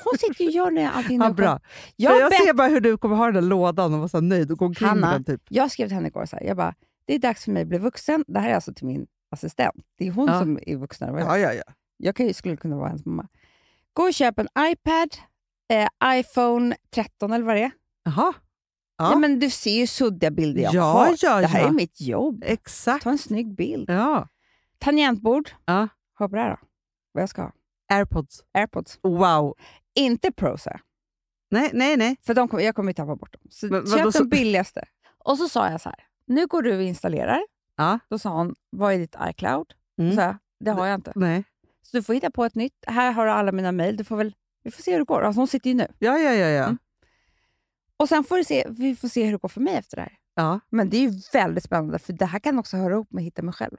Speaker 2: Hon sitter ju och gör det allting
Speaker 3: Ja,
Speaker 2: nu
Speaker 3: bra.
Speaker 2: själv.
Speaker 3: Jag,
Speaker 2: Jag,
Speaker 3: jag
Speaker 2: bet-
Speaker 3: ser bara hur du kommer ha den där lådan och vara så här nöjd och gå omkring med
Speaker 2: Hanna.
Speaker 3: den. Typ.
Speaker 2: jag skrev till henne igår så här, jag bara, det är dags för mig att bli vuxen. Det här är alltså till min assistent. Det är hon
Speaker 3: Ja.
Speaker 2: som är vuxnare. än vad jag är.
Speaker 3: Ja, ja, ja.
Speaker 2: Jag kan ju, skulle kunna vara hennes mamma. Gå och köp en iPad, eh, iPhone 13 eller vad det är.
Speaker 3: Jaha, Ja.
Speaker 2: Nej, men du ser ju suddiga bilder jag
Speaker 3: Ja,
Speaker 2: har.
Speaker 3: ja,
Speaker 2: det här
Speaker 3: ja.
Speaker 2: är mitt jobb.
Speaker 3: exakt.
Speaker 2: Ta en snygg bild.
Speaker 3: Ja.
Speaker 2: Tangentbord.
Speaker 3: Ja.
Speaker 2: Hör på det här då. Vad jag ska ha.
Speaker 3: Airpods.
Speaker 2: Airpods.
Speaker 3: Wow.
Speaker 2: Inte Pros här.
Speaker 3: Nej, nej, nej.
Speaker 2: För de kommer, jag kommer ju tappa bort dem. Så
Speaker 3: Men vadå
Speaker 2: köp
Speaker 3: så-
Speaker 2: de billigaste. Och så sa jag så här, nu går du och installerar.
Speaker 3: Ja.
Speaker 2: Då sa hon, vad är ditt iCloud?
Speaker 3: Mm.
Speaker 2: Så sa jag, det har jag inte.
Speaker 3: nej.
Speaker 2: Så du får hitta på ett nytt. Här har du alla mina mejl. Du får väl, vi får se hur det går. Alltså hon sitter ju nu.
Speaker 3: Ja, ja, ja. ja.
Speaker 2: Mm. Och sen får du se, vi får se hur det går för mig efter det här.
Speaker 3: ja.
Speaker 2: Men det är ju väldigt spännande, för det här kan också höra ihop med Hitta mig själv.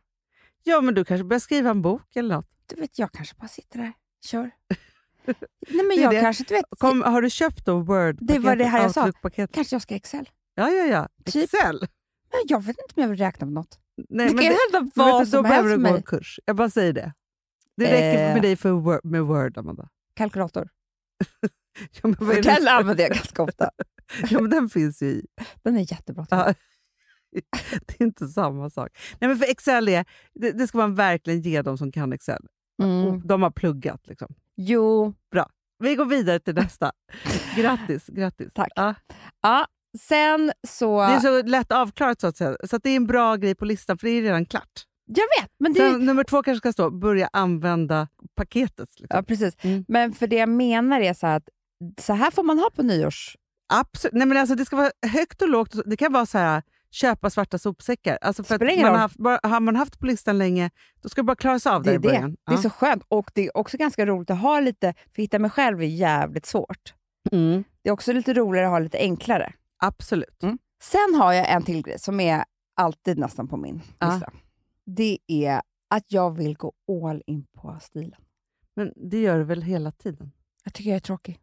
Speaker 3: Ja, men du kanske börjar skriva en bok eller något.
Speaker 2: Du vet, jag kanske bara sitter där.
Speaker 3: *laughs*
Speaker 2: Kör. Nej, men
Speaker 3: är
Speaker 2: jag
Speaker 3: det.
Speaker 2: kanske, du vet,
Speaker 3: Kom, har du köpt då word
Speaker 2: Det var det här jag sa.
Speaker 3: Outlook-paket?
Speaker 2: kanske jag ska Excel.
Speaker 3: Ja, ja, ja.
Speaker 2: Typ.
Speaker 3: Excel.
Speaker 2: Men jag vet inte om jag vill räkna med något.
Speaker 3: Nej,
Speaker 2: Det kan ju
Speaker 3: det-
Speaker 2: hända
Speaker 3: men
Speaker 2: vad
Speaker 3: vet du,
Speaker 2: som
Speaker 3: Då behöver
Speaker 2: helst
Speaker 3: du
Speaker 2: med
Speaker 3: gå en
Speaker 2: mig.
Speaker 3: kurs. Jag bara säger det. Det räcker
Speaker 2: Eh.
Speaker 3: med dig för word, med word, Amanda. *laughs*
Speaker 2: Kalkylator.
Speaker 3: Ja, men vad är
Speaker 2: För
Speaker 3: det?
Speaker 2: den använder jag ganska ofta.
Speaker 3: Ja, men den finns ju i.
Speaker 2: Den är jättebra. till
Speaker 3: Ja. Det är inte samma sak. Nej, men för Excel är, det, det ska man verkligen ge dem som kan Excel.
Speaker 2: mig. Mm.
Speaker 3: Och De har pluggat. Liksom.
Speaker 2: Jo,
Speaker 3: Vi går vidare
Speaker 2: *laughs*
Speaker 3: till nästa. Grattis! grattis.
Speaker 2: Tack.
Speaker 3: Ja,
Speaker 2: sen så...
Speaker 3: det är så lätt avklarat, så att säga. Så att det är en bra grej på listan, för det är redan klart.
Speaker 2: Jag vet, men det är
Speaker 3: Sen, nummer två kanske ska stå börja använda paketet. Liksom.
Speaker 2: Ja, precis.
Speaker 3: Mm.
Speaker 2: Men för det jag menar är så här att så här får man ha på nyårs...
Speaker 3: Absolut. Nej, men alltså, det ska vara högt och lågt. Det kan vara så här, köpa svarta sopsäckar. Alltså, för att
Speaker 2: Spelar
Speaker 3: man
Speaker 2: ingen
Speaker 3: har,
Speaker 2: roll.
Speaker 3: haft, bara, har man haft på listan länge, då ska det bara klaras av
Speaker 2: Det
Speaker 3: där
Speaker 2: är
Speaker 3: i
Speaker 2: det.
Speaker 3: början.
Speaker 2: Det är så skönt och det är också ganska roligt att ha lite, för hitta mig själv är jävligt svårt.
Speaker 3: Ja. Mm.
Speaker 2: Det är också lite roligare att ha lite enklare.
Speaker 3: Absolut.
Speaker 2: Mm. Sen har jag en till grej som är alltid nästan på min
Speaker 3: Ja.
Speaker 2: lista. Det är att jag vill gå all in på stilen.
Speaker 3: Men det gör du väl hela tiden?
Speaker 2: Jag tycker jag är tråkig.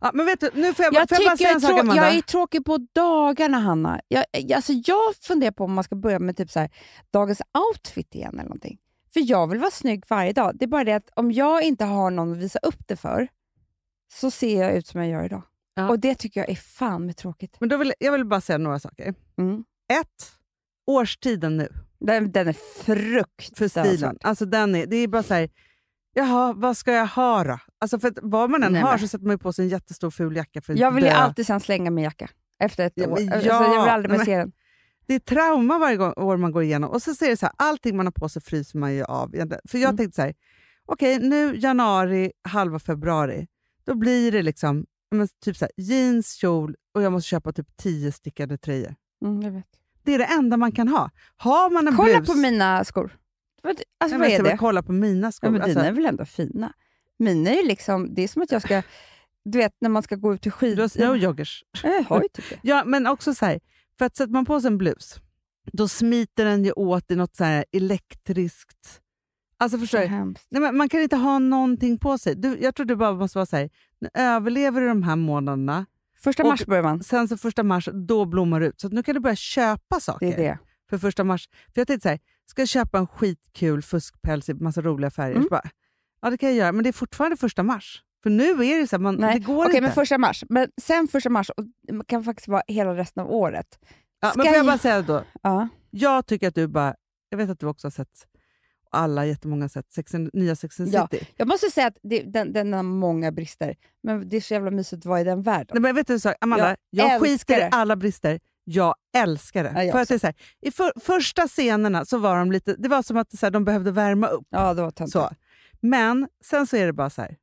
Speaker 3: Ja, men vet du, nu får jag, bara-
Speaker 2: Jag,
Speaker 3: får jag
Speaker 2: tycker
Speaker 3: bara säga
Speaker 2: jag,
Speaker 3: en
Speaker 2: är
Speaker 3: sak,
Speaker 2: trå-
Speaker 3: Amanda.
Speaker 2: jag är tråkig på dagarna, Hanna. Jag, jag- alltså jag funderar på om man ska börja med typ så här, dagens outfit igen eller någonting. För jag vill vara snygg varje dag. Det är bara det att om jag inte har någon att visa upp det för, så ser jag ut som jag gör idag.
Speaker 3: Ja.
Speaker 2: Och det tycker jag är fan med tråkigt.
Speaker 3: Men då vill, jag vill bara säga några saker.
Speaker 2: Mm.
Speaker 3: Ett, årstiden nu
Speaker 2: Den, den är fruktansvärd.
Speaker 3: för stilen. Alltså den är, det är bara så här, jaha, vad ska jag ha då? Alltså för att vad man än
Speaker 2: Nej,
Speaker 3: har
Speaker 2: men-
Speaker 3: så sätter man ju på sig en jättestor ful jacka för att
Speaker 2: Jag vill ju
Speaker 3: dö.
Speaker 2: alltid sen slänga min jacka efter ett
Speaker 3: Ja,
Speaker 2: år.
Speaker 3: men
Speaker 2: Alltså, jag vill
Speaker 3: ja,
Speaker 2: aldrig mer
Speaker 3: men-
Speaker 2: se den.
Speaker 3: Det är trauma varje gång, år man går igenom. Och så ser det så här, allting man har på sig fryser man ju av. Jag- För jag
Speaker 2: Mm.
Speaker 3: tänkte så här, okej nu januari, halva februari, då blir det liksom men, typ så här, jeans, kjol och jag måste köpa typ tio stickade tröjor.
Speaker 2: Mm, jag vet. Det
Speaker 3: Det är det enda man kan ha. Har man en
Speaker 2: Kolla
Speaker 3: blus...
Speaker 2: på mina skor. Vad- Alltså,
Speaker 3: Nej,
Speaker 2: vad
Speaker 3: men
Speaker 2: är
Speaker 3: jag
Speaker 2: det?
Speaker 3: ska kolla på mina skor.
Speaker 2: Ja, men
Speaker 3: alltså,
Speaker 2: dina är väl ändå fina? Mina är ju liksom, det är som att jag ska, du vet när man ska gå ut till skid...
Speaker 3: du har snowjoggers.
Speaker 2: Ja, Jag har ju typ det.
Speaker 3: Ja, men också så här, för att sätter man på sig en blus, då smiter den ju åt i något så här elektriskt... Alltså förstår du?
Speaker 2: hemskt.
Speaker 3: Nej, men man kan inte ha någonting på sig. Du, jag tror du bara måste vara så här, nu överlever du de här månaderna,
Speaker 2: Första
Speaker 3: Och-
Speaker 2: mars börjar man.
Speaker 3: sen så första mars, då blommar du ut. Så att nu kan du börja köpa saker
Speaker 2: Det är det.
Speaker 3: för första mars. För jag tänkte så här, ska jag köpa en skitkul fuskpäls i massa roliga färger?
Speaker 2: Mm.
Speaker 3: Så bara, ja det kan jag göra, men det är fortfarande första mars. För nu är det så här, man,
Speaker 2: Nej,
Speaker 3: det går
Speaker 2: Okej,
Speaker 3: inte.
Speaker 2: men första mars. Men sen första mars, och det kan faktiskt vara hela resten av året.
Speaker 3: Ja, men
Speaker 2: Ska
Speaker 3: får jag bara
Speaker 2: jag-
Speaker 3: säga då,
Speaker 2: Ja.
Speaker 3: jag tycker att du bara, jag vet att du också har sett, alla jättemånga har sett Sex and, nya Sex and
Speaker 2: Ja.
Speaker 3: City.
Speaker 2: Jag måste säga att det, den, den har många brister, men det är så jävla mysigt att vara i den världen.
Speaker 3: Nej, men vet du en sak, Amanda, jag,
Speaker 2: älskar
Speaker 3: skiter i
Speaker 2: det.
Speaker 3: alla brister. Jag älskar det.
Speaker 2: Ja, jag
Speaker 3: för att det är så här, I för, första scenerna så var de lite, det var som att så här, de behövde värma upp.
Speaker 2: Ja, det var töntigt.
Speaker 3: Så. Men sen så är det bara så här.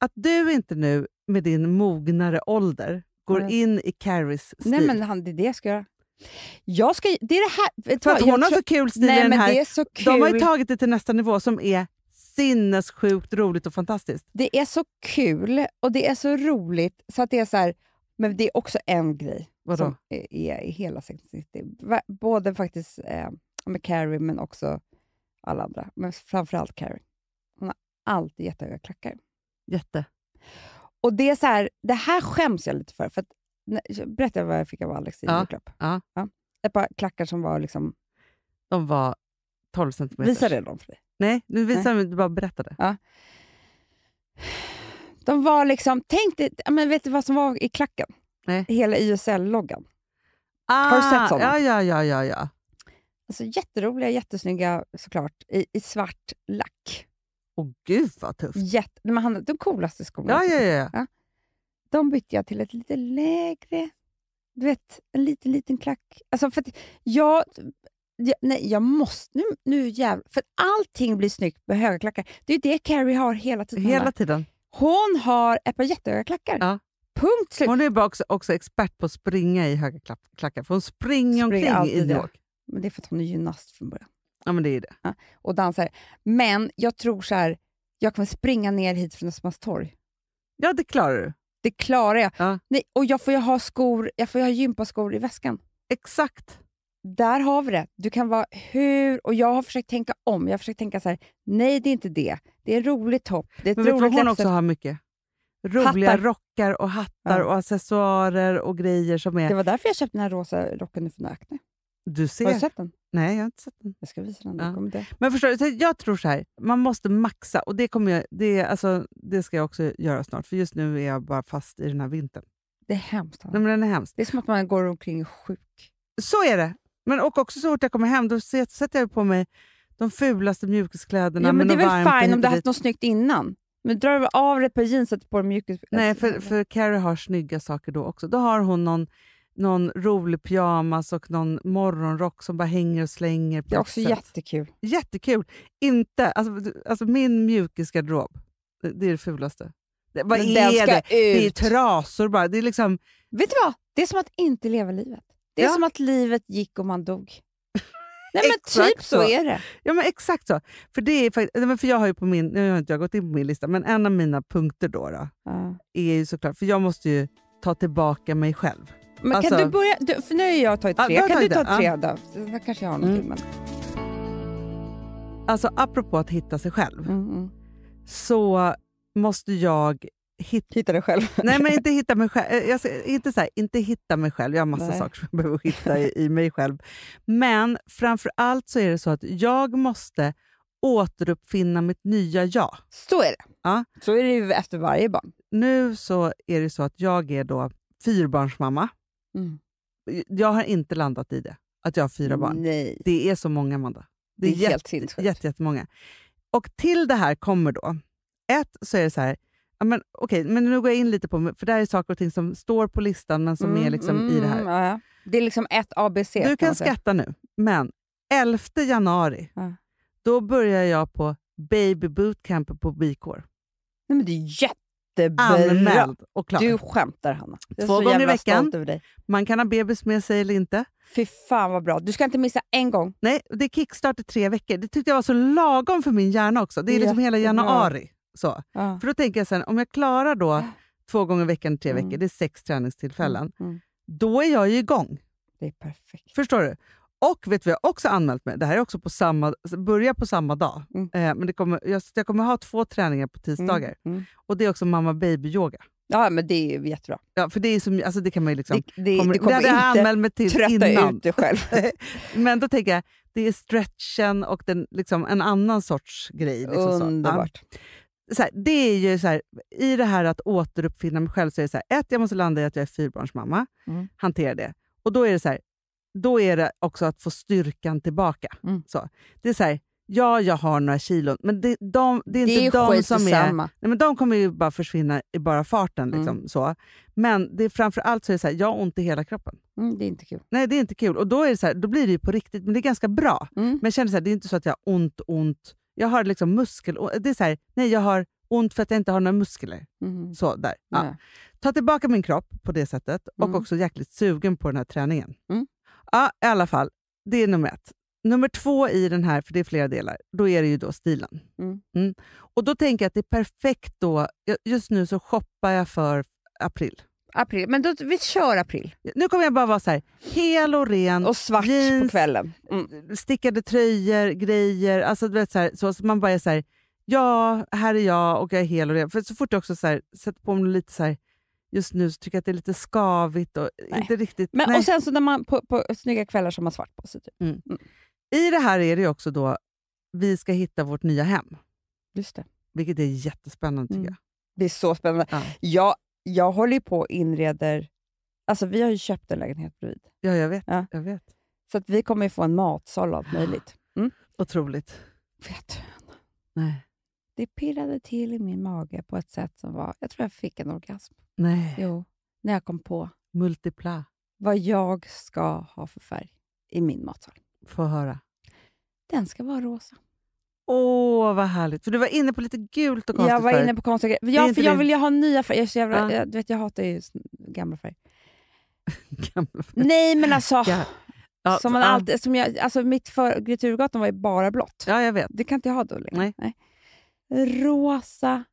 Speaker 3: Att du inte nu med din mognare ålder går
Speaker 2: Nej.
Speaker 3: in i Carries stil.
Speaker 2: Nej, men han, det är det jag ska göra. Jag ska, det är det här... Vet du
Speaker 3: för att
Speaker 2: vad, jag
Speaker 3: hon har
Speaker 2: tror-
Speaker 3: så kul stil i
Speaker 2: Nej,
Speaker 3: den
Speaker 2: men
Speaker 3: här.
Speaker 2: det är så kul.
Speaker 3: De har ju tagit det till nästa nivå som är sinnessjukt roligt och fantastiskt.
Speaker 2: Det är så kul och det är så roligt så att det är så här, men det är också en grej
Speaker 3: Vadå?
Speaker 2: som är, är i hela Sex and the City. Va- Både faktiskt eh, med Carrie men också alla andra. Men framförallt Carrie. Hon har alltid jättehöga klackar.
Speaker 3: Jätte.
Speaker 2: Och det är så här, det här skäms jag lite för. för att, när- berätta vad jag fick av Alex i
Speaker 3: Ja,
Speaker 2: julklapp.
Speaker 3: ja.
Speaker 2: Ett par klackar som var liksom...
Speaker 3: De var 12 centimeter.
Speaker 2: Visade jag dem för dig?
Speaker 3: Nej, nu visar du bara berättade.
Speaker 2: De var liksom... Tänk dig, ja, men vet du vad som var i klacken?
Speaker 3: Nej.
Speaker 2: Hela YSL-loggan.
Speaker 3: Ah,
Speaker 2: du sett sådana?
Speaker 3: Ja, ja, ja, ja, ja.
Speaker 2: Alltså, jätteroliga, jättesnygga såklart, i, i svart lack.
Speaker 3: Åh gud vad tufft.
Speaker 2: Jätte, men han, de coolaste skorna.
Speaker 3: Ja,
Speaker 2: jag
Speaker 3: ja,
Speaker 2: tycker.
Speaker 3: ja.
Speaker 2: De bytte jag till ett lite lägre, du vet, en liten, liten klack. Alltså för att jag, jag, nej, jag måste, nu, nu jävlar, för att allting blir snyggt med höga klackar. Det är ju det Carrie har hela tiden.
Speaker 3: Hela tiden.
Speaker 2: Hon har ett par jättehöga klackar.
Speaker 3: Ja.
Speaker 2: Punkt slut.
Speaker 3: Hon är bara också, också expert på att springa i höga klack- klackar, för hon springer
Speaker 2: Springer
Speaker 3: omkring i
Speaker 2: alltid,
Speaker 3: New
Speaker 2: ja.
Speaker 3: York.
Speaker 2: Men det är för att hon är gymnast från början.
Speaker 3: Ja, men det är ju det.
Speaker 2: och dansar. Men jag tror så här, jag kommer springa ner hit från Östermalmstorg.
Speaker 3: Ja, det klarar du.
Speaker 2: Det klarar jag.
Speaker 3: Ja.
Speaker 2: Nej, och jag får ju ha skor, jag får ju ha gympaskor i väskan.
Speaker 3: Exakt.
Speaker 2: Där har vi det. Du kan vara hur... Och jag har försökt tänka om. Jag har försökt tänka så här, nej det är inte det. Det är en rolig topp. Det är ett
Speaker 3: Men vet du vad
Speaker 2: roligt
Speaker 3: hon
Speaker 2: läppstift.
Speaker 3: också har mycket? Roliga
Speaker 2: Hattar.
Speaker 3: rockar och hattar
Speaker 2: Ja.
Speaker 3: och accessoarer och grejer som är...
Speaker 2: Det var därför jag köpte den här rosa rocken nu från Acne.
Speaker 3: Du ser.
Speaker 2: Har du sett den?
Speaker 3: Nej, jag har inte sett den.
Speaker 2: Jag ska visa den.
Speaker 3: Ja.
Speaker 2: Du kommer dö.
Speaker 3: Men förstår du, så jag tror så här, man måste maxa och det, kommer jag, det, alltså, det ska jag också göra snart, för just nu är jag bara fast i den här vintern.
Speaker 2: Det är hemskt. Hanna.
Speaker 3: Nej, men den är hemskt.
Speaker 2: Det är som att man går omkring och är sjuk.
Speaker 3: Så är det. Men och också så fort jag kommer hem då set- sätter jag på mig de fulaste mjukiskläderna.
Speaker 2: Ja, men det är
Speaker 3: något varmt och
Speaker 2: väl fine
Speaker 3: hit
Speaker 2: om
Speaker 3: och
Speaker 2: du har
Speaker 3: dit.
Speaker 2: haft något snyggt innan. Men drar du av dig på jeans och sätter på Alltså, dig mjukis...
Speaker 3: Nej, för, för Carrie har snygga saker då också. Då har hon någon, någon rolig pyjamas och någon morgonrock som bara hänger och slänger. På
Speaker 2: Det är
Speaker 3: något
Speaker 2: också
Speaker 3: sätt.
Speaker 2: jättekul.
Speaker 3: Jättekul. Inte, alltså, du- alltså min mjukisgarderob, det, det är det fulaste. Det, vad
Speaker 2: Men
Speaker 3: är det? Det är
Speaker 2: ut.
Speaker 3: trasor bara. Det är liksom,
Speaker 2: Vet du vad? Det är som att inte leva livet. Det är
Speaker 3: Ja.
Speaker 2: som att livet gick och man
Speaker 3: *laughs*
Speaker 2: dog. Nej men
Speaker 3: Exakt
Speaker 2: typ så
Speaker 3: så.
Speaker 2: är det.
Speaker 3: ja, men exakt så. För, det är, fakt- nej, men för jag har ju på min, nu har inte jag gått in på min lista, men en av mina punkter då, då är ju såklart, för jag måste ju ta tillbaka mig själv.
Speaker 2: Men
Speaker 3: Alltså-
Speaker 2: kan du börja? Du, för nu har jag tagit
Speaker 3: Ja,
Speaker 2: tre.
Speaker 3: Mm. du har
Speaker 2: kan du
Speaker 3: tagit
Speaker 2: ta tre
Speaker 3: det,
Speaker 2: då? Sen kanske jag har någonting. Men,
Speaker 3: Alltså apropå att hitta sig själv,
Speaker 2: mm, mm.
Speaker 3: så måste jag hitta
Speaker 2: Hitta dig själv.
Speaker 3: Nej, *laughs* men inte hitta mig själv. Eh, Jag ska, inte, så här, inte hitta mig själv. Jag har massa
Speaker 2: Nej.
Speaker 3: saker som jag behöver hitta i, i mig själv. Men framför allt så är det så att jag måste återuppfinna mitt nya jag.
Speaker 2: Så är det.
Speaker 3: Ja.
Speaker 2: Så är det ju efter varje barn.
Speaker 3: Nu så är det så att jag är då fyrbarnsmamma.
Speaker 2: Mm.
Speaker 3: Jag har inte landat i det, att jag har fyra barn.
Speaker 2: Nej.
Speaker 3: Det är så många, Amanda.
Speaker 2: Det är,
Speaker 3: jätte-
Speaker 2: helt sinnessjukt.
Speaker 3: Jätte, jättemånga. Och till det här kommer då, ett så är det så här, ja, men, okej, men nu går jag in lite på, för det här är saker och ting som står på listan men som är
Speaker 2: Mm,
Speaker 3: liksom
Speaker 2: mm,
Speaker 3: i det här.
Speaker 2: ja, ja. Det är liksom ett ABC.
Speaker 3: Du
Speaker 2: kan
Speaker 3: kan
Speaker 2: man säga.
Speaker 3: skratta nu, men 11 januari,
Speaker 2: Ja.
Speaker 3: då börjar jag på Baby Bootcamp på Bikår.
Speaker 2: Nej, men det är jättebra.
Speaker 3: Anmäld och klar.
Speaker 2: Du skämtar Hanna. Jag är
Speaker 3: Två
Speaker 2: så
Speaker 3: gånger i
Speaker 2: jävla
Speaker 3: veckan.
Speaker 2: stolt över dig.
Speaker 3: Man kan ha bebis med sig eller inte.
Speaker 2: Fy fan vad bra. Du ska inte missa en gång.
Speaker 3: Nej, det är kickstart i tre veckor. Det tyckte jag var så lagom för min hjärna också. Det är liksom hela
Speaker 2: Jättebra.
Speaker 3: januari. Så. För då tänker jag sen, om jag klarar då två gånger i veckan i tre
Speaker 2: Mm.
Speaker 3: veckor, det är sex träningstillfällen,
Speaker 2: Mm.
Speaker 3: då är jag ju igång.
Speaker 2: Det är perfekt.
Speaker 3: Förstår du? Och vet du vad jag också anmält mig? Det här är också på samma, börjar på samma dag.
Speaker 2: Mm.
Speaker 3: Eh, men det kommer, jag, jag kommer ha två träningar på
Speaker 2: Mm,
Speaker 3: tisdagar.
Speaker 2: mm.
Speaker 3: Och det är också mamma baby-yoga.
Speaker 2: Ja, men det är ju jättebra.
Speaker 3: Ja, för det, är som, alltså det kan man ju liksom...
Speaker 2: det, det,
Speaker 3: kommer,
Speaker 2: du kommer
Speaker 3: det hade jag
Speaker 2: inte
Speaker 3: anmält mig till
Speaker 2: trötta
Speaker 3: innan.
Speaker 2: ut dig själv. *laughs*
Speaker 3: Men då tänker jag, det är stretchen och den, liksom, en annan sorts grej. Liksom så. Ja.
Speaker 2: Underbart.
Speaker 3: Så här, det är ju så här, I det här att återuppfinna mig själv så är det så här, ett, jag måste landa i att jag är fyrbarnsmamma.
Speaker 2: Mm.
Speaker 3: Hantera det. Och då är det så här, då är det också att få styrkan tillbaka.
Speaker 2: Mm.
Speaker 3: Så. Det är så här, ja, jag har några kilon, men det, de, det är
Speaker 2: det är ju
Speaker 3: inte de
Speaker 2: skit
Speaker 3: som är...
Speaker 2: samma. Mm.
Speaker 3: Nej, men de kommer ju bara försvinna i bara farten. Liksom, så. Men det är framför allt så är det så här, jag har ont i hela kroppen.
Speaker 2: Mm, det är inte kul.
Speaker 3: Nej, det är inte kul. Och då, är det så här, då blir det ju på riktigt, men det är ganska bra.
Speaker 2: Mm.
Speaker 3: Men jag känner så här, det är inte så att jag har ont, ont. Jag har liksom muskel... Det är så här, nej, jag har ont för att jag inte har några muskler.
Speaker 2: Mhm.
Speaker 3: Så, där. Ja.
Speaker 2: Nej.
Speaker 3: Ta tillbaka min kropp på det sättet och
Speaker 2: Mm.
Speaker 3: också jäkligt sugen på den här träningen.
Speaker 2: Mm.
Speaker 3: Ja, i alla fall. Det är nummer ett. Nummer två i den här, för det är flera delar, då är det ju då stilen.
Speaker 2: Mm.
Speaker 3: Och då tänker jag att det är perfekt då. jag- Just nu så shoppar jag för april.
Speaker 2: April. Men då, vi kör april.
Speaker 3: Nu kommer jag bara vara så här, hel och ren,
Speaker 2: Och svart på
Speaker 3: Jeans.
Speaker 2: kvällen. Mm.
Speaker 3: stickade tröjor, grejer. Alltså, du vet, så, här, så, så man bara är så här, ja, här är jag och jag är hel och ren. För så fort jag också så här, sätter på mig lite så här, just nu så tycker jag att det är lite skavigt och
Speaker 2: Nej.
Speaker 3: inte riktigt...
Speaker 2: Men,
Speaker 3: nej.
Speaker 2: och sen så när man på, på snygga kvällar som har svart på sig. Typ.
Speaker 3: I det här är det ju också då, vi ska hitta vårt nya hem.
Speaker 2: Just det.
Speaker 3: Vilket är jättespännande tycker
Speaker 2: Mm. det är så spännande.
Speaker 3: Ja.
Speaker 2: Jag, jag håller ju på och inreder... Alltså vi har ju köpt en lägenhet bredvid.
Speaker 3: jag. Ja, jag vet.
Speaker 2: Ja.
Speaker 3: Jag vet.
Speaker 2: Så att vi kommer ju få en matsal och allt möjligt. Mm.
Speaker 3: Otroligt.
Speaker 2: *gasps* Vet du,
Speaker 3: Nej.
Speaker 2: det pirrade till i min mage på ett sätt som var... Jag tror jag fick en orgasm.
Speaker 3: Nej.
Speaker 2: Jo, när jag kom på
Speaker 3: Multipla.
Speaker 2: vad jag ska ha för färg i min matsal.
Speaker 3: Få höra.
Speaker 2: Den ska vara rosa.
Speaker 3: Åh, vad härligt. För du var inne på lite gult och konstigt
Speaker 2: Jag var
Speaker 3: förut.
Speaker 2: inne på konstiga grejer.
Speaker 3: är
Speaker 2: Ja,
Speaker 3: inte
Speaker 2: för jag
Speaker 3: din-
Speaker 2: vill ju ha nya färger. Jag, är så jävla,
Speaker 3: Ja.
Speaker 2: jag, du vet, jag hatar ju s- gamla färger.
Speaker 3: *laughs* Gamla förut.
Speaker 2: Nej, men alltså...
Speaker 3: Ja. Ja,
Speaker 2: som Mm, man
Speaker 3: ja.
Speaker 2: alltid, som jag, alltså mitt för Gryturgatan var ju bara blått.
Speaker 3: ja, jag vet.
Speaker 2: Det kan inte jag ha då längre.
Speaker 3: Nej.
Speaker 2: Rosa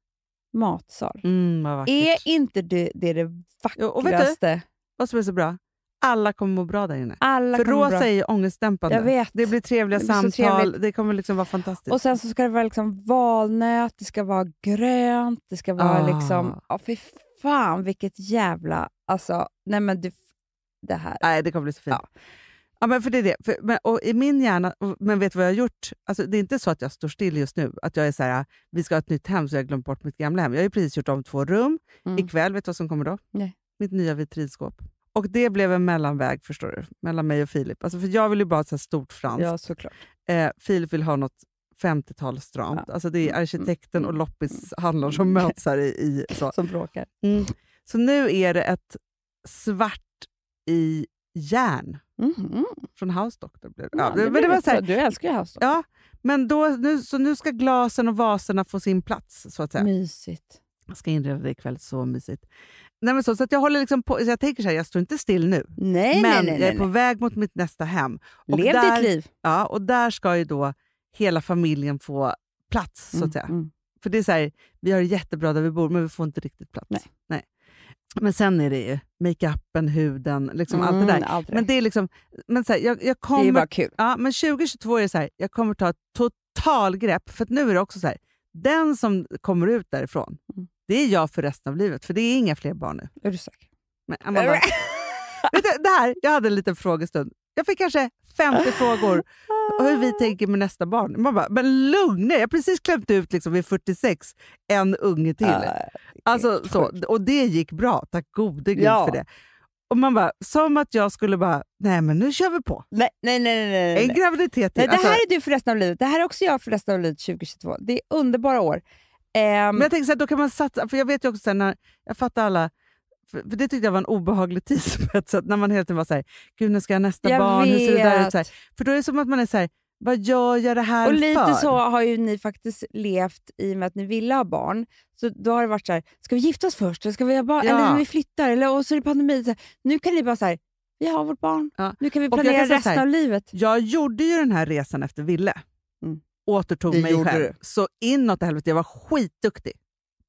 Speaker 2: matsal.
Speaker 3: Mm, vad vackert.
Speaker 2: Är inte det det, är det
Speaker 3: Jo, och vet du?
Speaker 2: vackraste?
Speaker 3: Vad som är så bra? Alla kommer må bra där inne.
Speaker 2: Alla
Speaker 3: För
Speaker 2: kommer
Speaker 3: rosa
Speaker 2: bra.
Speaker 3: är ju ångestdämpande.
Speaker 2: Jag vet.
Speaker 3: Det blir trevliga
Speaker 2: Det blir så
Speaker 3: samtal,
Speaker 2: trevligt.
Speaker 3: det kommer liksom vara fantastiskt.
Speaker 2: Och sen så ska det vara liksom valnöt, det ska vara grönt, det ska vara
Speaker 3: Ah.
Speaker 2: liksom... Ja, fy fan vilket jävla... Alltså, nej men du, det här.
Speaker 3: Nej, det kommer bli så fint.
Speaker 2: Ja.
Speaker 3: Ja. men för det är det. För, men, och I min hjärna, och- men vet du vad jag har gjort? Alltså, det är inte så att jag står still just nu, att jag är så här, ah, vi ska ha ett nytt hem så jag har glömt bort mitt gamla hem. Jag har ju precis gjort om två rum.
Speaker 2: Mm.
Speaker 3: Ikväll, vet du vad som kommer då?
Speaker 2: Nej.
Speaker 3: Mitt nya vitrinskåp. Och det blev en mellanväg, förstår du, mellan mig och Filip. Alltså, för jag vill ju bara ha ett så här stort franskt.
Speaker 2: Ja, såklart.
Speaker 3: Eh, Filip vill ha något 50-tal stramt. Alltså, det är arkitekten och loppishandlaren som
Speaker 2: Mm.
Speaker 3: möts här i... i så.
Speaker 2: Som bråkar.
Speaker 3: Mm. så nu är det ett svart i järn
Speaker 2: Mhm.
Speaker 3: från House Doctor. Blev det.
Speaker 2: Ja,
Speaker 3: Mm-hmm. Ja, det, men
Speaker 2: blir
Speaker 3: det var
Speaker 2: rätt
Speaker 3: så här,
Speaker 2: bra. Du älskar ju House
Speaker 3: ja, men då, nu, så nu ska glasen och vaserna få sin plats. så att
Speaker 2: Mm.
Speaker 3: säga.
Speaker 2: Mysigt.
Speaker 3: Jag ska inreda det ikväll, så mysigt. Nej, men så, så att jag håller liksom på, så jag tänker så här, jag står inte still nu.
Speaker 2: Nej, nej,
Speaker 3: men
Speaker 2: nej.
Speaker 3: jag
Speaker 2: nej,
Speaker 3: är på väg mot mitt nästa hem.
Speaker 2: nej.
Speaker 3: och
Speaker 2: Lev
Speaker 3: där-
Speaker 2: ditt liv.
Speaker 3: Ja, och där ska ju då hela familjen få plats. så att säga.
Speaker 2: Mm, mm.
Speaker 3: För det är så här, vi har det jättebra där vi bor, men vi får inte riktigt plats.
Speaker 2: Nej.
Speaker 3: Men sen är det ju makeupen, huden, liksom allt det där.
Speaker 2: Mm, allt det där.
Speaker 3: Men det är liksom, men så här, jag, jag
Speaker 2: Det är ju
Speaker 3: kommer
Speaker 2: bara kul.
Speaker 3: Ja, men 2022 är det så här, jag kommer ta ett totalgrepp. För att nu är det också så här, den som kommer ut därifrån,
Speaker 2: Mm.
Speaker 3: det är jag för resten av livet. För det är inga fler barn nu.
Speaker 2: Är du säker?
Speaker 3: Men
Speaker 2: *laughs*
Speaker 3: Amanda, vet du, det här, jag hade en liten frågestund. Jag fick kanske 50 frågor om hur vi tänker med nästa barn. Man bara, men lugna er, jag har precis klämt ut liksom vid 46 en unge till.
Speaker 2: Ja,
Speaker 3: Alltså, så, och det gick bra, tack gode gud
Speaker 2: Ja.
Speaker 3: för det. Och man bara, som att jag skulle bara, nej men nu kör vi på.
Speaker 2: nej, nej, nej. nej, nej,
Speaker 3: En
Speaker 2: nej.
Speaker 3: graviditet till.
Speaker 2: Nej, det
Speaker 3: Alltså,
Speaker 2: här är du för resten av livet. Det här är också jag för resten av livet 2022. Det är underbara år. Ehm,
Speaker 3: Men jag tänker så här, då kan man satsa, för jag vet ju också så här, när, jag fattar alla, för, för det tyckte jag var en obehaglig *laughs* tidspett, så att när man hela tiden var såhär, gud när ska jag ha nästa
Speaker 2: jag
Speaker 3: barn, hur ser det där
Speaker 2: vet.
Speaker 3: ut? Så här, för då är det som att man är så här, vad gör jag det här
Speaker 2: Och lite
Speaker 3: för?
Speaker 2: så har ju ni faktiskt levt i och med att ni ville ha barn. Så då har det varit så här, ska vi gifta oss först? Eller ska vi ha barn?
Speaker 3: Ja.
Speaker 2: Eller när vi flyttar? Eller, och så är det pandemi. Så här, nu kan ni bara så här, vi har vårt barn.
Speaker 3: Ja.
Speaker 2: Nu kan vi
Speaker 3: Och jag kan
Speaker 2: planera
Speaker 3: säga så
Speaker 2: resten
Speaker 3: här,
Speaker 2: av livet.
Speaker 3: Jag gjorde ju den här resan efter Ville,
Speaker 2: Mm.
Speaker 3: återtog
Speaker 2: Det
Speaker 3: mig
Speaker 2: gjorde
Speaker 3: själv.
Speaker 2: du.
Speaker 3: Så inåt i helvete, jag var skitduktig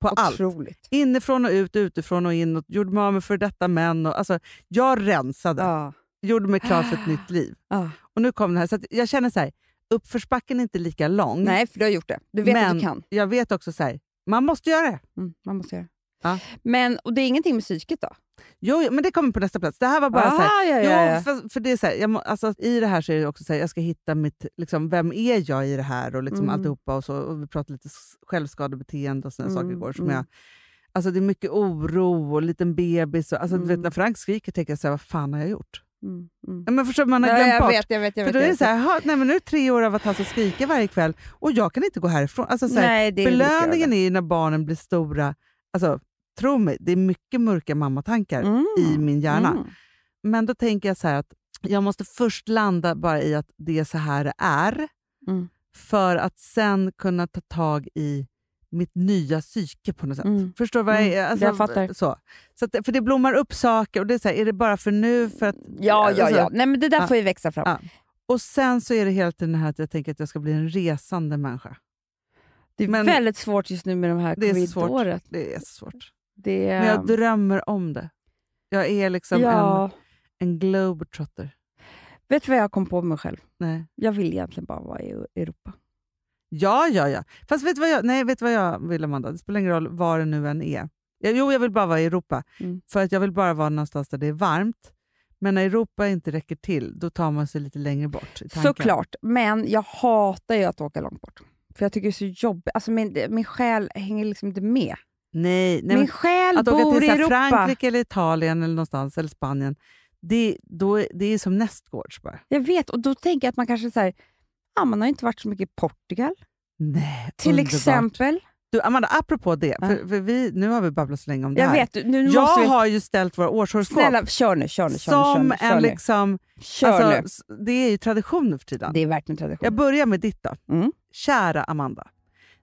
Speaker 3: på allt.
Speaker 2: Otroligt.
Speaker 3: Inifrån och ut, utifrån och inåt, gjorde mig av med för detta män. Och, alltså, jag rensade,
Speaker 2: Ja.
Speaker 3: gjorde mig klar för
Speaker 2: *gasps*
Speaker 3: ett nytt liv.
Speaker 2: Ja.
Speaker 3: Och nu kom det här, så att jag känner så här, uppförsbacken är inte lika lång.
Speaker 2: Nej, för du har gjort det. Du vet att
Speaker 3: Men-
Speaker 2: du kan.
Speaker 3: jag vet också så här, man måste göra det.
Speaker 2: Mm, man måste göra
Speaker 3: Ja.
Speaker 2: Men, och det är ingenting med psyket då?
Speaker 3: Jo, jo, men det kommer på nästa plats. Det här var bara så här,
Speaker 2: Ah, ja,
Speaker 3: jo,
Speaker 2: ja, ja.
Speaker 3: För, för det är så här, jag må, alltså, I det här så är det också så här, jag ska hitta mitt, liksom, vem är jag i det här och liksom
Speaker 2: Mm.
Speaker 3: alltihopa. Och, så, och vi pratade lite s- självskadebeteende och sådana
Speaker 2: Mm,
Speaker 3: saker igår. Som
Speaker 2: mm.
Speaker 3: jag, alltså, det är mycket oro och liten bebis. Och, alltså, du vet,
Speaker 2: Mm.
Speaker 3: när Frank skriker tänker jag så här, vad fan har jag gjort?
Speaker 2: Mm, mm.
Speaker 3: Ja, men förstår du, man har
Speaker 2: Ja,
Speaker 3: glömt
Speaker 2: jag
Speaker 3: bort.
Speaker 2: vet, jag vet. Jag vet,
Speaker 3: För då är
Speaker 2: jag
Speaker 3: det
Speaker 2: vet.
Speaker 3: så här, "Ha, nej, men nu är det tre år av att han ska skrika varje kväll och jag kan inte gå härifrån. Alltså, så här,
Speaker 2: Nej, det är mycket av
Speaker 3: belöningen är ju när barnen blir stora. Alltså, tro mig, det är mycket mörka mammatankar
Speaker 2: det. Mm,
Speaker 3: i min hjärna.
Speaker 2: mm.
Speaker 3: Men då tänker jag så här att jag måste först landa bara i att det är så här det är.
Speaker 2: Mm.
Speaker 3: För att sen kunna ta tag i mitt nya psyke på något sätt.
Speaker 2: Mm.
Speaker 3: Förstår du vad jag
Speaker 2: Mm,
Speaker 3: är? Alltså,
Speaker 2: jag fattar.
Speaker 3: Så. Så att, för det blommar upp saker och det är så här, är det bara för nu? För att,
Speaker 2: Ja, ja,
Speaker 3: alltså,
Speaker 2: ja. Nej, men det där
Speaker 3: Ja.
Speaker 2: får ju växa fram.
Speaker 3: Ja. Och sen så är det hela tiden det här att jag tänker att jag ska bli en resande människa.
Speaker 2: Det är
Speaker 3: Men-
Speaker 2: väldigt svårt just nu med de här
Speaker 3: Det är så svårt.
Speaker 2: covidåret.
Speaker 3: Det är så svårt.
Speaker 2: Det är...
Speaker 3: Men jag drömmer om det. Jag är liksom
Speaker 2: Ehm. ja.
Speaker 3: en, en globetrotter.
Speaker 2: Vet du vad jag kom på mig själv?
Speaker 3: Nej.
Speaker 2: Jag vill egentligen bara vara i Europa.
Speaker 3: Ja, ja, ja. Fast vet du vad jag, nej, vet du vad jag vill, Amanda? Det spelar ingen roll var det nu än är. Ja, Jo, jag vill bara vara i Europa.
Speaker 2: Mm.
Speaker 3: För att jag vill bara vara någonstans där det är varmt. Men när Europa inte räcker till, då tar man sig lite längre bort. i tanken.
Speaker 2: Såklart, men jag hatar ju att åka långt bort. För jag tycker det är så jobbigt. Alltså min, min själ hänger liksom inte med.
Speaker 3: Nej, nej
Speaker 2: min
Speaker 3: men
Speaker 2: själ
Speaker 3: att åka
Speaker 2: bor
Speaker 3: till
Speaker 2: i
Speaker 3: så här,
Speaker 2: Europa.
Speaker 3: Frankrike eller Italien eller någonstans, eller Spanien, det, då, är- det är som nästgårds bara.
Speaker 2: Jag vet, och då tänker jag att man kanske så här, ja, man har inte varit så mycket i Portugal
Speaker 3: Nej,
Speaker 2: till
Speaker 3: underbart.
Speaker 2: exempel.
Speaker 3: Du, Amanda, apropå det,
Speaker 2: Ja.
Speaker 3: för, för vi, nu har vi babblat så länge om det
Speaker 2: Jag
Speaker 3: här.
Speaker 2: vet, nu måste
Speaker 3: jag
Speaker 2: vi...
Speaker 3: har ju ställt våra årshoroskop
Speaker 2: Snälla, kör nu, kör nu, kör nu, kör
Speaker 3: som
Speaker 2: nu, kör
Speaker 3: en
Speaker 2: nu.
Speaker 3: liksom...
Speaker 2: Kör nu.
Speaker 3: Alltså, s- det är ju tradition nu för tiden.
Speaker 2: Det är verkligen tradition.
Speaker 3: Jag börjar med ditt då.
Speaker 2: Mm.
Speaker 3: Kära Amanda.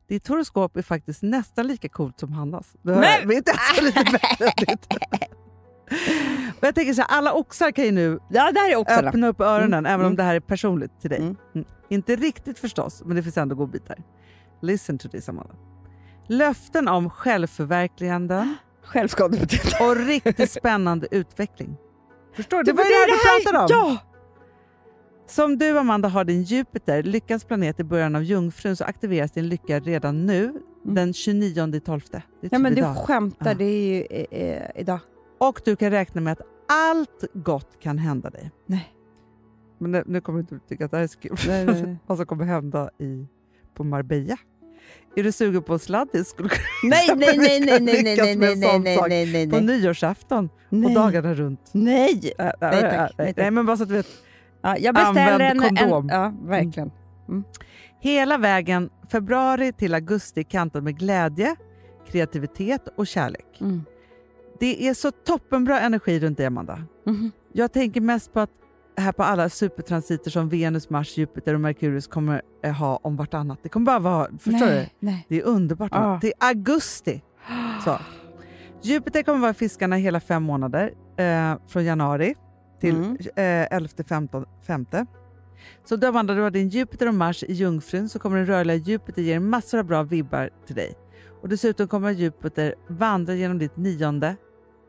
Speaker 3: Ditt horoskop är faktiskt nästan lika coolt som Hannas. Det
Speaker 2: Nej!
Speaker 3: är inte ens
Speaker 2: *laughs*
Speaker 3: lite bättre än ditt. Och jag tänker så här, alla oxar kan ju nu
Speaker 2: Ja, där är också
Speaker 3: öppna upp öronen, även om
Speaker 2: Mm.
Speaker 3: det här är personligt till dig.
Speaker 2: Mm.
Speaker 3: Mm. Inte riktigt förstås, men det finns ändå godbitar. Listen to this Amanda. Löften om självförverkligande
Speaker 2: självskadebeteende. *laughs*
Speaker 3: och riktigt spännande utveckling. Förstår du? Det
Speaker 2: Men
Speaker 3: var ju det här du pratade om.
Speaker 2: Ja!
Speaker 3: Som du Amanda har din Jupiter, lyckans planet i början av Jungfrun, så aktiveras din lycka redan nu den 29 12. Det är
Speaker 2: Mm. Ja, men
Speaker 3: typ
Speaker 2: du
Speaker 3: idag.
Speaker 2: skämtar,
Speaker 3: Ja.
Speaker 2: det är ju eh, eh, *laughs* idag.
Speaker 3: Och du kan räkna med att allt gott kan hända dig.
Speaker 2: Nej.
Speaker 3: Men nu, nu kommer du inte tycka att det här är så kul.
Speaker 2: Nej, nej, nej.
Speaker 3: *laughs* Vad som kommer hända i, på Marbella. Är du sugen på en sladdis? Skulle du
Speaker 2: Nej, nej, nej, nej, nej, nej, nej, nej, nej, nej, nej, nej,
Speaker 3: på
Speaker 2: nej.
Speaker 3: nyårsafton och
Speaker 2: Nej.
Speaker 3: dagarna runt.
Speaker 2: Nej!
Speaker 3: Äh, äh,
Speaker 2: Nej, tack.
Speaker 3: äh,
Speaker 2: Nej,
Speaker 3: nej,
Speaker 2: tack.
Speaker 3: men bara så att du vet.
Speaker 2: Ja, jag beställer en...
Speaker 3: Använd kondom.
Speaker 2: En, ja, verkligen.
Speaker 3: Hela vägen februari till augusti kantad med glädje, kreativitet och kärlek.
Speaker 2: Mm.
Speaker 3: Det är så toppenbra energi runt dig, Amanda.
Speaker 2: Mhm.
Speaker 3: Jag tänker mest på att här på alla supertransiter som Venus, Mars, Jupiter och Merkurius kommer eh, ha om vartannat. Det kommer bara vara... Förstår du?
Speaker 2: nej, Nej.
Speaker 3: Det är underbart.
Speaker 2: Ja.
Speaker 3: Till augusti.
Speaker 2: *gasps*
Speaker 3: Så. Jupiter kommer vara i fiskarna hela fem månader. Eh, från januari till
Speaker 2: Mm.
Speaker 3: eh, 11 15, femte. Så då Amanda, du har din Jupiter och Mars i Jungfrun så kommer den rörliga Jupiter ge dig massor av bra vibbar till dig. Och dessutom kommer Jupiter vandra genom ditt nionde,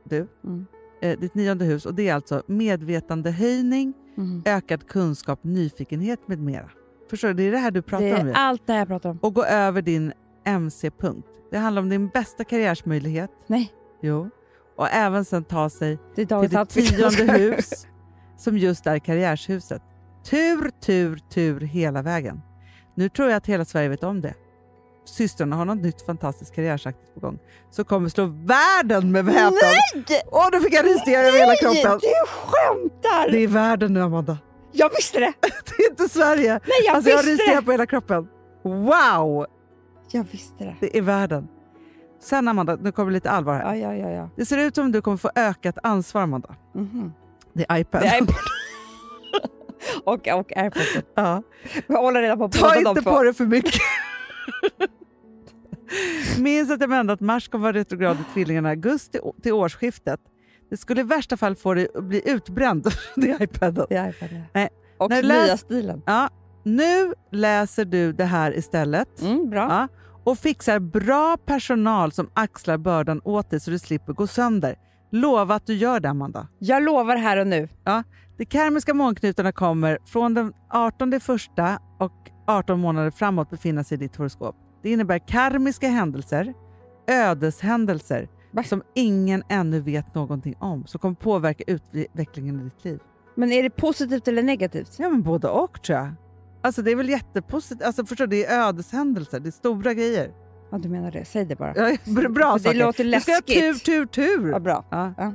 Speaker 3: du,
Speaker 2: Mm.
Speaker 3: eh, ditt nionde hus och det är alltså medvetandehöjning,
Speaker 2: Mhm.
Speaker 3: ökad kunskap, nyfikenhet med mera. Förstår du? Det är det här du pratar
Speaker 2: Det
Speaker 3: om. ju
Speaker 2: är allt det här jag pratar om.
Speaker 3: och gå över din MC-punkt. Det handlar om din bästa karriärsmöjlighet.
Speaker 2: Nej,
Speaker 3: Jo. Och även sen ta sig
Speaker 2: det är
Speaker 3: till
Speaker 2: dagens
Speaker 3: ditt
Speaker 2: outfit. *laughs*
Speaker 3: tionde hus som just är karriärshuset. Tur, tur, tur hela vägen. Nu tror jag att hela Sverige vet om det. Systrarna har något nytt fantastiskt karriärsaktigt på gång som kommer slå världen med väpnad.
Speaker 2: Nej!
Speaker 3: Åh, nu fick jag rysningar över hela kroppen.
Speaker 2: Du skämtar!
Speaker 3: Det är världen nu, Amanda. *laughs*
Speaker 2: Jag visste det!
Speaker 3: Det är inte Sverige.
Speaker 2: Nej, jag
Speaker 3: Alltså, jag har
Speaker 2: visste
Speaker 3: rysningar
Speaker 2: det!
Speaker 3: på hela kroppen. Wow!
Speaker 2: Jag visste det.
Speaker 3: Det är världen. Sen Amanda, nu kommer lite allvar här.
Speaker 2: Ja, ja, ja. ja.
Speaker 3: Det ser ut som du kommer få ökat ansvar Amanda.
Speaker 2: Mhm.
Speaker 3: Det är iPad.
Speaker 2: Det *laughs* är iPod. och, och airpods.
Speaker 3: ja.
Speaker 2: Jag håller reda på
Speaker 3: Ta
Speaker 2: båda de
Speaker 3: inte
Speaker 2: två.
Speaker 3: på dig för mycket. *laughs* Minns att jag nämnde att Mars kommer vara retrograd i tvillingarna i augusti å- till årsskiftet. Det skulle i värsta fall få dig att bli utbränd. *laughs* det är iPaden.
Speaker 2: Det är iPad.
Speaker 3: Nej.
Speaker 2: Och
Speaker 3: När du
Speaker 2: nya
Speaker 3: läs-
Speaker 2: stilen.
Speaker 3: Ja. Nu läser du det här istället
Speaker 2: Mm, bra.
Speaker 3: Ja. och fixar bra personal som axlar bördan åt dig så du slipper gå sönder. Lova att du gör det Amanda.
Speaker 2: Jag lovar här och nu.
Speaker 3: De karmiska månknutarna kommer från den 18 första och 18 månader framåt befinna sig i ditt horoskop. Det innebär karmiska händelser, ödeshändelser
Speaker 2: Va?
Speaker 3: som ingen ännu vet någonting om som kommer påverka utvecklingen i ditt liv.
Speaker 2: Men är det positivt eller negativt?
Speaker 3: Ja, men både och tror jag. Alltså det är väl jättepositivt. Alltså förstår du, det är ödeshändelser, det är stora grejer.
Speaker 2: Ja, du menar det. Säg det bara.
Speaker 3: Ja, *laughs* bra
Speaker 2: För det
Speaker 3: saker.
Speaker 2: låter
Speaker 3: Du ska ha tur,
Speaker 2: läskigt.
Speaker 3: tur, tur.
Speaker 2: Ja, bra.
Speaker 3: Ja.
Speaker 2: Ja.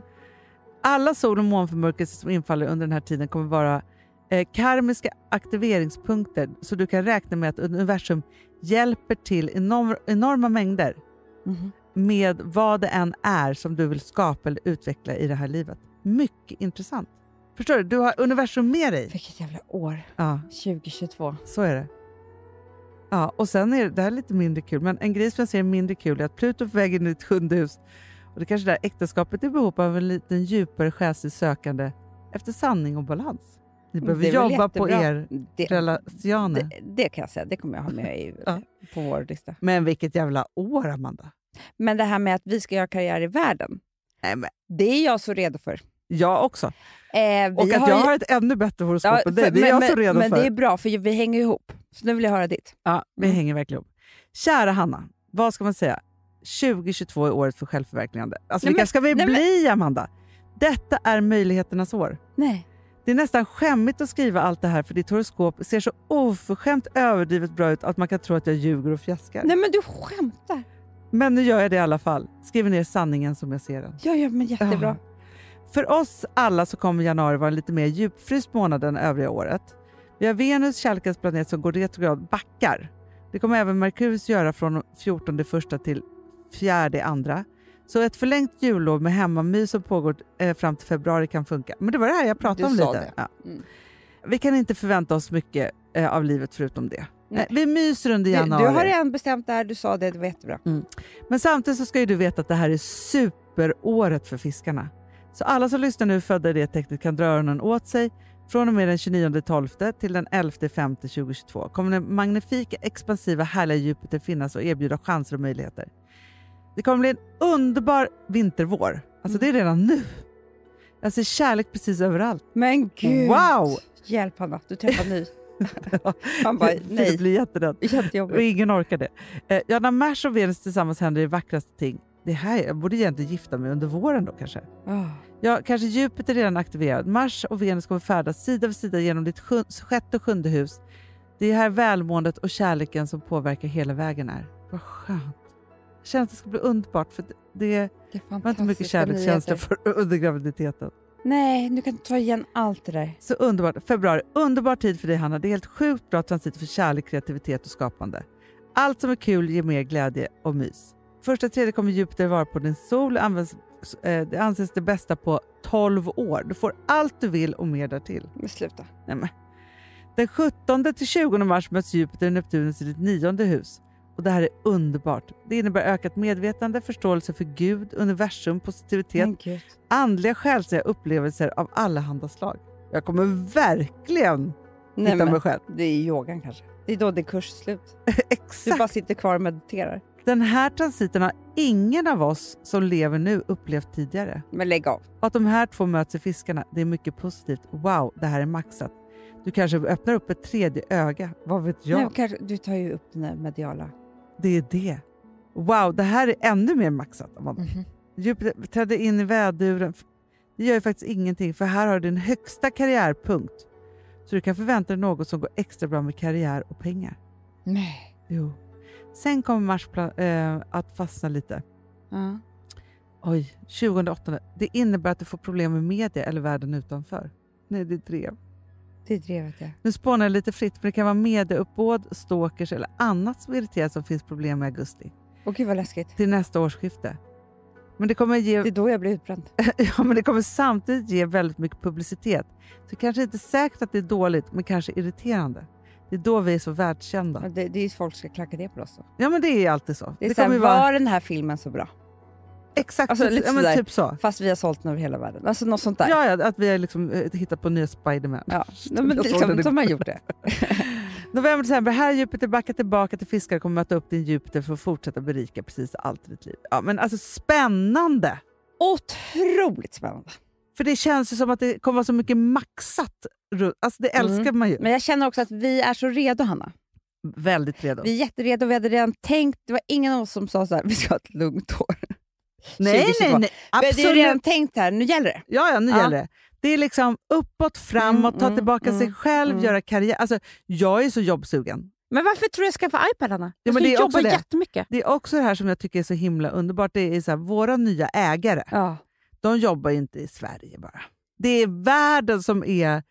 Speaker 3: Alla sol och månförmörkelser som infaller under den här tiden kommer vara eh, karmiska aktiveringspunkter så du kan räkna med att universum hjälper till enorm, enorma mängder
Speaker 2: Mhm.
Speaker 3: med vad det än är som du vill skapa eller utveckla i det här livet. Mycket intressant. Förstår du? Du har universum med dig.
Speaker 2: Vilket jävla år.
Speaker 3: Ja,
Speaker 2: 2022.
Speaker 3: så är det. Ja, och sen är det, det här är lite mindre kul, men en grej som jag ser är mindre kul är att Pluto är på väg in i ditt sjunde hus. Och det kanske där äktenskapet är behov av en liten djupare själsligt sökande efter sanning och balans. Ni behöver
Speaker 2: Mm, Det är väl
Speaker 3: jobba på
Speaker 2: jättebra.
Speaker 3: er
Speaker 2: Det,
Speaker 3: relationer.
Speaker 2: det, det kan jag säga, det kommer jag ha med i,
Speaker 3: Ja.
Speaker 2: på vår lista.
Speaker 3: Men vilket jävla år, Amanda.
Speaker 2: Men det här med att vi ska göra karriär i världen,
Speaker 3: Nej, men
Speaker 2: det är jag så redo för.
Speaker 3: jag också.
Speaker 2: Eh, vi
Speaker 3: Och att
Speaker 2: har
Speaker 3: jag
Speaker 2: ju-
Speaker 3: har ett ännu bättre horoskop
Speaker 2: Ja,
Speaker 3: än dig,
Speaker 2: för-
Speaker 3: det är jag så redo
Speaker 2: men
Speaker 3: för.
Speaker 2: Men det är bra, för vi hänger ihop. Så nu vill jag höra ditt.
Speaker 3: Ja, vi
Speaker 2: Mm.
Speaker 3: hänger verkligen ihop. Kära Hanna, vad ska man säga? 2022 är året för självförverkligande. Alltså,
Speaker 2: Nej,
Speaker 3: vilka
Speaker 2: men-
Speaker 3: ska vi
Speaker 2: nej, men-
Speaker 3: bli, Amanda? Detta är möjligheternas år.
Speaker 2: Nej.
Speaker 3: Det är nästan skämmigt att skriva allt det här för ditt horoskop ser så oförskämt överdrivet bra ut att man kan tro att jag ljuger och fjäskar.
Speaker 2: Nej men du skämtar.
Speaker 3: Men nu gör jag det i alla fall. Skriver ner sanningen som jag ser den.
Speaker 2: Ja, ja men jättebra.
Speaker 3: För oss alla så kommer januari vara en lite mer djupfryst månad än övriga året. Vi har Venus, kärlekens planet, som går retrograd backar. Det kommer även Merkurius göra från 14 första till 4 andra. Så ett förlängt jullov med hemmamys som pågår eh, fram till februari kan funka. Men det var det här jag pratade
Speaker 2: Du
Speaker 3: om
Speaker 2: sa
Speaker 3: lite.
Speaker 2: det.
Speaker 3: Ja.
Speaker 2: Mm.
Speaker 3: Vi kan inte förvänta oss mycket eh, av livet förutom det.
Speaker 2: Nej.
Speaker 3: Eh, Vi myser under
Speaker 2: Du,
Speaker 3: januari.
Speaker 2: du har redan bestämt det här, du sa det, det var jättebra.
Speaker 3: Men samtidigt så ska ju du veta att det här är superåret för fiskarna. Så alla som lyssnar nu födda i det tecknet kan dra öronen åt sig från och med den 29.12 till den 11.5.2022 kommer den magnifika, expansiva, härliga Jupiter finnas och erbjuda chanser och möjligheter. Det kommer bli en underbar vintervår. Alltså det
Speaker 2: Mm.
Speaker 3: är redan nu. Jag ser kärlek precis överallt.
Speaker 2: Men gud!
Speaker 3: Wow!
Speaker 2: Hjälp Hanna, du träffar *laughs* ny. Han bara,
Speaker 3: *laughs* Det
Speaker 2: nej.
Speaker 3: blir jätterädd. Och
Speaker 2: Jättejobbigt.
Speaker 3: ingen orkar det. Eh, ja, när Mars och Venus tillsammans händer är det vackraste ting. Det här, jag borde egentligen gifta mig under våren då kanske.
Speaker 2: Ah.
Speaker 3: Ja, kanske Jupiter är redan aktiverad. Mars och Venus kommer färdas sida vid sida genom ditt sjun- sjätte och sjunde hus. Det är här välmåendet och kärleken som påverkar hela vägen är. Vad skönt. Jag känner att det ska bli underbart för det- det
Speaker 2: Det är
Speaker 3: var inte mycket
Speaker 2: fantastiska
Speaker 3: kärlekskänsla
Speaker 2: nyheter.
Speaker 3: för *laughs* under graviditeten.
Speaker 2: Nej, nu kan du ta igen allt det där.
Speaker 3: Så underbart. Februari, underbar tid för dig Hanna. Det är helt sjukt bra transit för kärlek, kreativitet och skapande. Allt som är kul ger mer glädje och mys. Första tredje kommer Jupiter vara på din sol. Används, eh, det anses det bästa på 12 år. Du får allt du vill och mer därtill.
Speaker 2: Men sluta.
Speaker 3: Nej, men. Den 17 till 20 mars möts Jupiter och Neptunus i ditt nionde hus. Och Det här är underbart. Det innebär ökat medvetande, förståelse för Gud, universum, positivitet
Speaker 2: Men gud.
Speaker 3: andliga själsliga upplevelser av allehanda slag. Jag kommer verkligen
Speaker 2: Nej,
Speaker 3: hitta mig
Speaker 2: men, *laughs*
Speaker 3: själv.
Speaker 2: det är yogan kanske. Det är då din kurs är slut. Du
Speaker 3: Exakt.
Speaker 2: bara sitter kvar och mediterar.
Speaker 3: Den här transiten har ingen av oss som lever nu upplevt tidigare.
Speaker 2: Men lägg av.
Speaker 3: Att de här två möts i fiskarna, det är mycket positivt. Wow, det här är maxat. Du kanske öppnar upp ett tredje öga, vad vet jag?
Speaker 2: Nej, och kanske, du tar ju upp den där mediala.
Speaker 3: Det är det. Wow, det här är ännu mer maxat. Amanda. Jupiter trädde in i väduren. Det gör ju faktiskt ingenting för här har du din högsta karriärpunkt. Så du kan förvänta dig något som går extra bra med karriär och pengar.
Speaker 2: Nej.
Speaker 3: Jo. Sen kommer Mars pla- eh, att fastna lite.
Speaker 2: Ja.
Speaker 3: Oj, 2008. Det innebär att du får problem med media eller världen utanför. Nej, det är drev.
Speaker 2: Det är drevet jag.
Speaker 3: Nu spånar jag lite fritt, men det kan vara medieuppbåd, stalkers eller annat som irriterar som finns problem med i augusti.
Speaker 2: Åh gud vad läskigt.
Speaker 3: Till nästa årsskifte. Men det kommer ge... *laughs*
Speaker 2: Det är då jag blir utbränd.
Speaker 3: Ja, men det kommer samtidigt ge väldigt mycket publicitet. Så kanske inte säkert att det är dåligt, men kanske irriterande. Det är då vi är så världskända.
Speaker 2: Men Det, det är ju folk som ska klacka det på oss. Då.
Speaker 3: Ja, men det är alltid så.
Speaker 2: Det är
Speaker 3: kommer
Speaker 2: såhär,
Speaker 3: ju
Speaker 2: var den här filmen så bra?
Speaker 3: Exakt,
Speaker 2: alltså,
Speaker 3: typ,
Speaker 2: lite
Speaker 3: ja, men
Speaker 2: sådär.
Speaker 3: typ så.
Speaker 2: Fast vi har sålt den över hela världen. Alltså något sånt där.
Speaker 3: Ja, ja, att vi har liksom, eh, hittat på nya Spiderman.
Speaker 2: Ja, nej, men
Speaker 3: Jag såg den
Speaker 2: liksom,
Speaker 3: igår.
Speaker 2: de har gjort det.
Speaker 3: November, december. Här är Jupiter backar tillbaka till fiskar och kommer möta upp din Jupiter för att fortsätta berika precis allt i ditt liv. Ja, men alltså spännande!
Speaker 2: Otroligt spännande.
Speaker 3: För det känns ju som att det kommer vara så mycket maxat. runt- Alltså det
Speaker 2: Mm.
Speaker 3: älskar man ju.
Speaker 2: Men jag känner också att vi är så redo, Hanna.
Speaker 3: Väldigt redo.
Speaker 2: Vi är jätteredo, vi hade redan tänkt. Det var ingen av oss som sa så här, vi ska ha ett lugnt år.
Speaker 3: nej,
Speaker 2: 2022.
Speaker 3: nej, nej.
Speaker 2: Vi har
Speaker 3: Absolut.
Speaker 2: redan tänkt här, nu gäller det.
Speaker 3: Ja, ja, nu
Speaker 2: Ja.
Speaker 3: gäller det. Det är liksom uppåt, framåt,
Speaker 2: Mm,
Speaker 3: ta
Speaker 2: mm,
Speaker 3: tillbaka sig
Speaker 2: mm,
Speaker 3: själv,
Speaker 2: mm.
Speaker 3: göra karriär. Alltså, jag är så jobbsugen.
Speaker 2: Men varför tror du jag skaffade iPad, Hanna?
Speaker 3: Ja,
Speaker 2: Jag
Speaker 3: men
Speaker 2: ska
Speaker 3: det
Speaker 2: ju
Speaker 3: är också
Speaker 2: jobba
Speaker 3: det.
Speaker 2: jättemycket.
Speaker 3: Det är också det här som jag tycker är så himla underbart. Det är så här, våra nya ägare.
Speaker 2: Ja.
Speaker 3: de jobbar ju inte i Sverige bara. Det är världen som är, är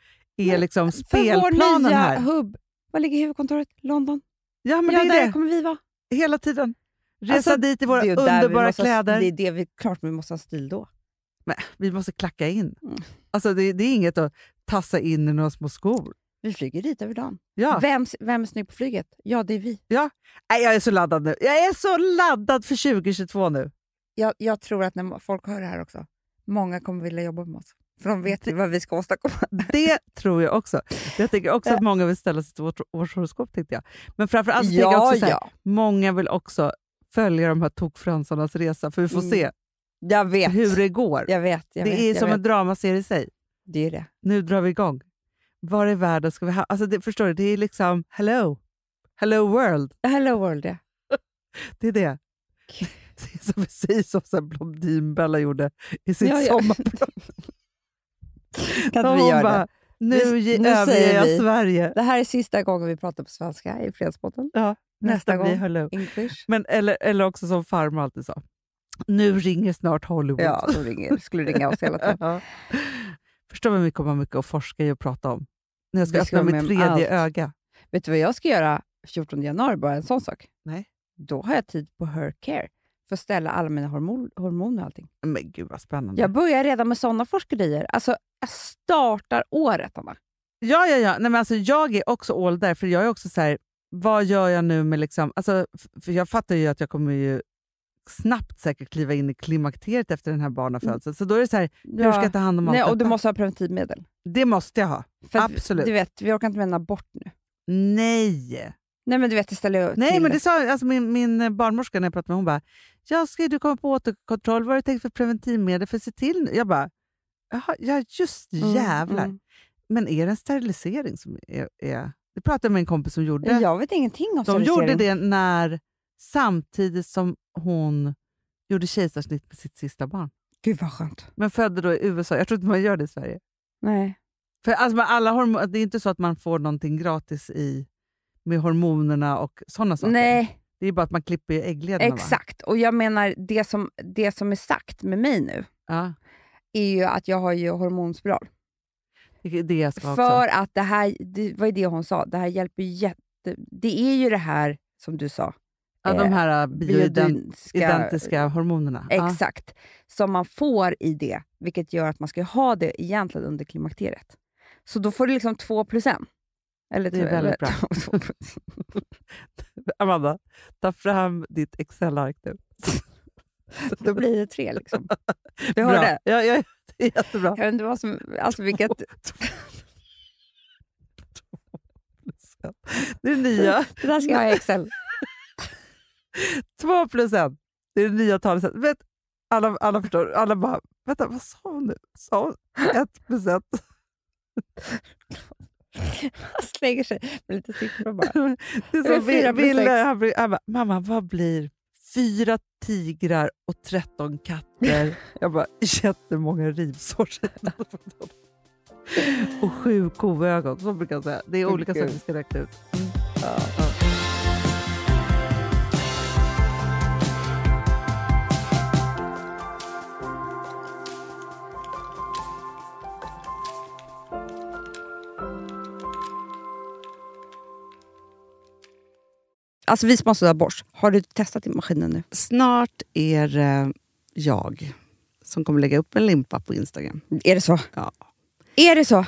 Speaker 2: Nej,
Speaker 3: liksom
Speaker 2: För vår
Speaker 3: spelplanen
Speaker 2: nya
Speaker 3: här.
Speaker 2: hubb, var ligger huvudkontoret? London.
Speaker 3: Ja, men
Speaker 2: ja,
Speaker 3: det
Speaker 2: där
Speaker 3: är det.
Speaker 2: kommer vi vara.
Speaker 3: Hela tiden. Resa
Speaker 2: Alltså,
Speaker 3: dit i våra
Speaker 2: Det är ju där vi
Speaker 3: underbara
Speaker 2: måste ha-
Speaker 3: kläder.
Speaker 2: Det är det vi, klart vi måste ha stil då.
Speaker 3: Men, vi måste klacka in.
Speaker 2: Mm.
Speaker 3: Alltså, det, det är inget att tassa in i några små skor.
Speaker 2: Vi flyger dit över dagen.
Speaker 3: Ja.
Speaker 2: Vem, vem är snygg på flyget? Ja, det är vi.
Speaker 3: Nej, jag är så laddad nu. Jag är så laddad för 2022 nu.
Speaker 2: Jag, jag tror att när folk hör det här också, många kommer vilja jobba med oss. För de vet ju vad vi ska åstadkomma. *laughs*
Speaker 3: Det tror jag också. Jag tänker också
Speaker 2: Eh.
Speaker 3: att många vill ställa sig till vårt årshoroskop. Tänkte jag. Men framförallt tänker jag också så här,
Speaker 2: Alltså, ja.
Speaker 3: många vill också följa de här tokfransarnas resa, för vi får
Speaker 2: Mm,
Speaker 3: se
Speaker 2: Jag vet.
Speaker 3: hur det går.
Speaker 2: Jag vet, jag
Speaker 3: det
Speaker 2: vet,
Speaker 3: är
Speaker 2: jag
Speaker 3: som
Speaker 2: vet.
Speaker 3: en dramaserie i sig.
Speaker 2: Det är det.
Speaker 3: Nu drar vi igång. Var i världen ska vi ha... Alltså det, förstår du, det är liksom hello. Hello world.
Speaker 2: Hello world, *laughs* ja.
Speaker 3: Det är det. *laughs* Det är som precis som så här Blondinbella gjorde i sin
Speaker 2: Ja, ja.
Speaker 3: sommarprat.
Speaker 2: Kan
Speaker 3: Hon
Speaker 2: inte vi göra
Speaker 3: bara,
Speaker 2: det?
Speaker 3: nu
Speaker 2: Vi-
Speaker 3: ge-
Speaker 2: nu
Speaker 3: överger
Speaker 2: säger
Speaker 3: jag
Speaker 2: vi-
Speaker 3: Sverige.
Speaker 2: Det här är sista gången vi pratar på svenska i Fredagspodden.
Speaker 3: Ja,
Speaker 2: nästa
Speaker 3: blir
Speaker 2: gång.
Speaker 3: hello.
Speaker 2: English.
Speaker 3: Men, eller, eller också som farmor alltid sa, nu ringer snart Hollywood. *laughs*
Speaker 2: Ja, de ringer, skulle ringa oss hela tiden.
Speaker 3: Ja. Förstår vad vi kommer ha mycket att forska i och prata om. När jag ska
Speaker 2: Vi ska
Speaker 3: öppna
Speaker 2: vara
Speaker 3: mitt
Speaker 2: med om
Speaker 3: tredje
Speaker 2: allt.
Speaker 3: öga.
Speaker 2: *laughs* Vet du vad jag ska göra 14 januari, bara en sån sak?
Speaker 3: Nej.
Speaker 2: Då har jag tid på Her Care för att ställa alla mina hormon, hormoner och allting.
Speaker 3: Men gud vad spännande.
Speaker 2: Jag börjar redan med såna forskerier. Alltså, jag startar året, Anna.
Speaker 3: Ja, ja, ja. Nej, men alltså, jag är också all där, för jag är också så här, vad gör jag nu med liksom... Alltså, f- för jag fattar ju att jag kommer ju snabbt säkert kliva in i klimakteriet efter den här barnafödseln. Så då är det så här, hur ska jag ta hand om allt
Speaker 2: Mm. Nej, och Du
Speaker 3: detta?
Speaker 2: måste ha preventivmedel.
Speaker 3: Det måste jag ha.
Speaker 2: För att,
Speaker 3: Absolut.
Speaker 2: Du vet, vi orkar inte med en abort nu.
Speaker 3: Nej!
Speaker 2: Nej, men du vet, det ställer jag
Speaker 3: Nej,
Speaker 2: till
Speaker 3: men
Speaker 2: det.
Speaker 3: det sa alltså min, min barnmorska när jag pratade med hon bara, Jaska, du kommer på återkontroll, vad har du tänkt för preventivmedel för att se till nu? Jag bara, Jaha, ja just
Speaker 2: Mm,
Speaker 3: jävlar.
Speaker 2: mm.
Speaker 3: Men är det en sterilisering som är... är... Det pratade jag med en kompis som gjorde.
Speaker 2: Jag vet ingenting om
Speaker 3: De gjorde
Speaker 2: sterilisering.
Speaker 3: det när, samtidigt som hon gjorde kejsarsnitt med sitt sista barn.
Speaker 2: Gud vad skönt.
Speaker 3: Men födde då i USA. Jag tror inte man gör det i Sverige.
Speaker 2: Nej.
Speaker 3: För alltså med alla hormon, Det är inte så att man får någonting gratis i, med hormonerna och sådana saker.
Speaker 2: Nej,
Speaker 3: Det är bara att man klipper ju äggledarna. Va?
Speaker 2: exakt. Och jag menar, det som, det som är sagt med mig nu
Speaker 3: Ja,
Speaker 2: är ju att jag har ju hormonspiral.
Speaker 3: det är det jag ska också.
Speaker 2: För att det här, det var ju det hon sa, det här hjälper ju jätte... Det är ju det här som du sa,
Speaker 3: Ja, de här eh, bioidentiska hormonerna. Ja.
Speaker 2: Exakt. Som man får i det, vilket gör att man ska ha det egentligen under klimakteriet. Så då får du liksom två plus en. Eller
Speaker 3: Det är
Speaker 2: två-
Speaker 3: väldigt
Speaker 2: eller- två plus-
Speaker 3: Amanda, ta fram ditt Excel-ark nu.
Speaker 2: då blir det tre *laughs* liksom. Du
Speaker 3: Bra.
Speaker 2: hörde?
Speaker 3: Ja, ja, *laughs* det är jättebra.
Speaker 2: Jag vet inte vad som... Alltså vilket...
Speaker 3: Det är det nya.
Speaker 2: *laughs* Det där ska jag ha i Excel.
Speaker 3: Två plus en. Det är det nya talesättet. Vet, alla, alla förstår. Alla bara, vänta, vad sa hon nu? Sa hon ett plus ett?
Speaker 2: *laughs* Man slänger sig med lite siffror bara.
Speaker 3: Det
Speaker 2: Det är
Speaker 3: är som
Speaker 2: fyra plus
Speaker 3: Bill- Bill,
Speaker 2: sex.
Speaker 3: han, blir- han bara, mamma, vad blir fyra tigrar och tretton
Speaker 2: *laughs*
Speaker 3: katter? Jag bara, jättemånga rivsår. och sju koögon, så brukar jag säga. Det är
Speaker 2: Men
Speaker 3: olika
Speaker 2: gud.
Speaker 3: saker vi ska räkna ut.
Speaker 2: Alltså vi sponsrar Bors. Har du testat din maskinen nu?
Speaker 3: Snart är eh, jag som kommer lägga upp en limpa på Instagram.
Speaker 2: Är det så?
Speaker 3: Ja.
Speaker 2: Är det så?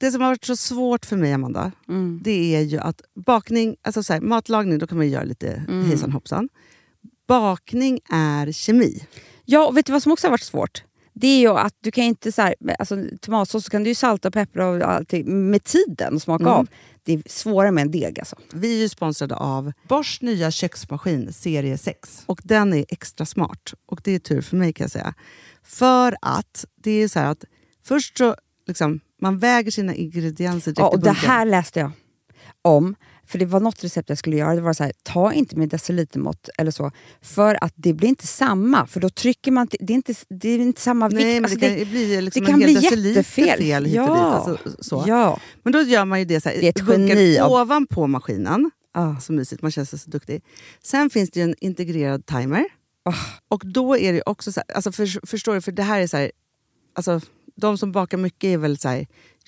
Speaker 3: Det som har varit så svårt för mig, Amanda, det är ju att bakning, alltså så här, matlagning, då kan man ju göra lite hejsan hoppsan. Bakning är kemi.
Speaker 2: Ja, och vet du vad som också har varit svårt? Det är ju att du kan inte så här, alltså, tomatsås så kan du ju salta och peppra och allting med tiden och smaka av. Det är svårare med en deg alltså.
Speaker 3: Vi är ju sponsrade av Bors nya köksmaskin serie 6. Och den är extra smart. Och det är tur för mig kan jag säga. För att det är så här att först så liksom, man väger sina ingredienser direkt
Speaker 2: Ja,
Speaker 3: i
Speaker 2: och det
Speaker 3: bunken.
Speaker 2: här läste jag om. För det var något recept jag skulle göra. Det var så här, ta inte med decilitermått eller så. För att det blir inte samma. För då trycker man... till- Det är inte, det är inte samma vikt.
Speaker 3: Nej, men
Speaker 2: Alltså,
Speaker 3: det kan ju bli liksom
Speaker 2: det kan
Speaker 3: en hel
Speaker 2: bli
Speaker 3: deciliter
Speaker 2: jättefel.
Speaker 3: fel hit och dit.
Speaker 2: Ja.
Speaker 3: Alltså, så.
Speaker 2: Ja.
Speaker 3: Men då gör man ju det så här,
Speaker 2: Det är ett
Speaker 3: bunkar
Speaker 2: geni av-
Speaker 3: ovanpå maskinen.
Speaker 2: Ah.
Speaker 3: Så mysigt, man känns så duktig. Sen finns det ju en integrerad timer
Speaker 2: Ah.
Speaker 3: Och då är det också så här, alltså för, förstår du, för det här är så här, alltså de som bakar mycket är väl så här,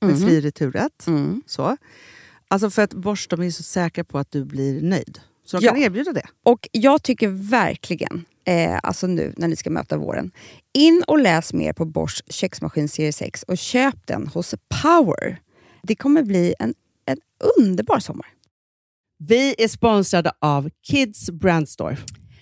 Speaker 3: med
Speaker 2: Mhm.
Speaker 3: fri returrätt.
Speaker 2: Mm.
Speaker 3: Så. Alltså för att Bosch de är så säkra på att du blir nöjd. Så de
Speaker 2: Ja.
Speaker 3: kan erbjuda det.
Speaker 2: Och jag tycker verkligen, eh, alltså nu när ni ska möta våren, in och läs mer på Bosch köksmaskin serie 6 och köp den hos Power. Det kommer bli en, en underbar sommar.
Speaker 3: Vi är sponsrade av Kids Brand Store.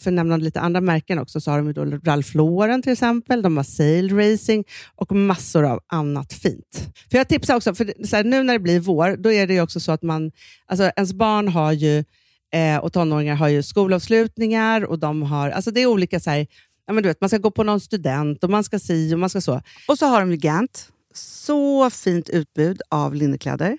Speaker 3: för att nämna lite andra märken också, så har de ju då Ralph Lauren till exempel, de har Sail Racing och massor av annat fint. För Jag tipsar också, för det- så här, nu när det blir vår, då är det ju också så att man, alltså ens barn har ju, eh, och tonåringar har ju skolavslutningar och de har, alltså det är olika så här, ja, men du vet, man ska gå på någon student och man ska si och man ska så. Och så har de ju Gant, så fint utbud av linnekläder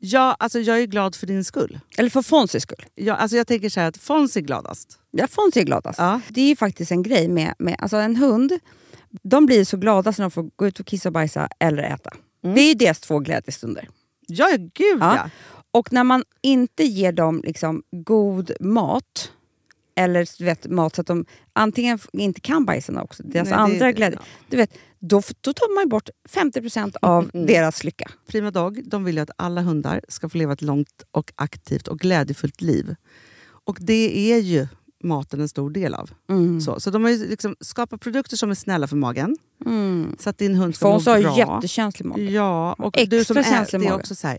Speaker 3: Ja, alltså jag är glad för din skull.
Speaker 2: Eller för Fonzys skull.
Speaker 3: Ja, alltså jag tänker så här att Fons är gladast.
Speaker 2: Ja, Fonzie är gladast.
Speaker 3: Ja.
Speaker 2: Det är ju faktiskt en grej med, med alltså en hund. De blir så glada när de får gå ut och kissa och bajsa eller äta. Det är ju deras två glädjestunder.
Speaker 3: Ja, gud Mm. ja.
Speaker 2: Ja. Och när man inte ger dem liksom god mat, eller du vet, mat så att de antingen f- inte kan bajsa också, deras
Speaker 3: Nej, det-
Speaker 2: andra
Speaker 3: det-
Speaker 2: glädje,
Speaker 3: ja.
Speaker 2: du vet, då, f- då tar man ju bort 50% av
Speaker 3: Mm.
Speaker 2: deras lycka.
Speaker 3: Prima Dog de vill ju att alla hundar ska få leva ett långt, och aktivt och glädjefullt liv. Och det är ju maten en stor del av.
Speaker 2: Mm.
Speaker 3: Så, så de har ju liksom skapat produkter som är snälla för magen,
Speaker 2: Mm.
Speaker 3: så att din hund ska
Speaker 2: Fons
Speaker 3: må
Speaker 2: har
Speaker 3: bra. Mm.
Speaker 2: ju jättekänslig mage.
Speaker 3: Ja, och
Speaker 2: Extra
Speaker 3: du som äter,
Speaker 2: känslig
Speaker 3: det är
Speaker 2: mage.
Speaker 3: också så här,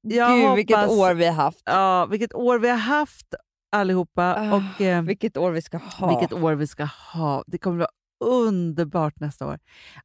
Speaker 3: jag hoppas...
Speaker 2: vi har haft.
Speaker 3: Ja, vilket år vi har haft allihopa
Speaker 2: Ah,
Speaker 3: och eh,
Speaker 2: Vilket år vi ska ha.
Speaker 3: vilket år vi ska ha. Det kommer vara underbart nästa år.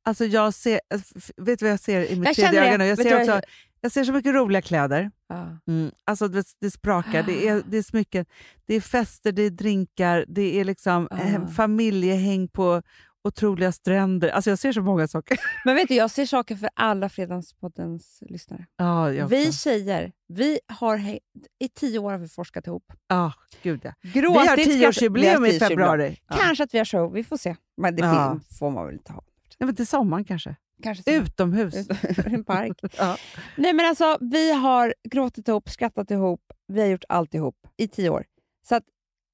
Speaker 3: Alltså jag ser, f- f- vet du vad jag ser i mitt
Speaker 2: Jag
Speaker 3: tredje
Speaker 2: känner det.
Speaker 3: öga nu? Jag
Speaker 2: Vet du
Speaker 3: ser
Speaker 2: vad
Speaker 3: också
Speaker 2: jag-
Speaker 3: Jag ser så mycket roliga kläder.
Speaker 2: Ja.
Speaker 3: Mm. Alltså det, det sprakar, det är, det är smycken, det är fester, det är drinkar, det är liksom
Speaker 2: Ah.
Speaker 3: eh, familjehäng på otroliga stränder. Alltså jag ser så många *laughs* saker.
Speaker 2: Men vet du, jag ser saker för alla Fredagspoddens lyssnare.
Speaker 3: Ja, Ah, jag
Speaker 2: Vi
Speaker 3: också.
Speaker 2: tjejer, vi har he- i tio år har vi forskat ihop.
Speaker 3: Ja, ah, gud ja. Vi
Speaker 2: Gråtit,
Speaker 3: har
Speaker 2: skrattat-
Speaker 3: tioårsjubileum
Speaker 2: vi har
Speaker 3: i
Speaker 2: tioårsjubileum.
Speaker 3: februari. Ja.
Speaker 2: Kanske att vi har show, vi får se. Men det
Speaker 3: Ja.
Speaker 2: fin- får man väl inte ha.
Speaker 3: Nej, men till sommaren kanske.
Speaker 2: Kanske så-
Speaker 3: *laughs* Utomhus.
Speaker 2: Ut- *laughs* en park.
Speaker 3: *laughs* Ja.
Speaker 2: Nej men alltså, vi har gråtit ihop, skrattat ihop, vi har gjort allt ihop i tio år. Så att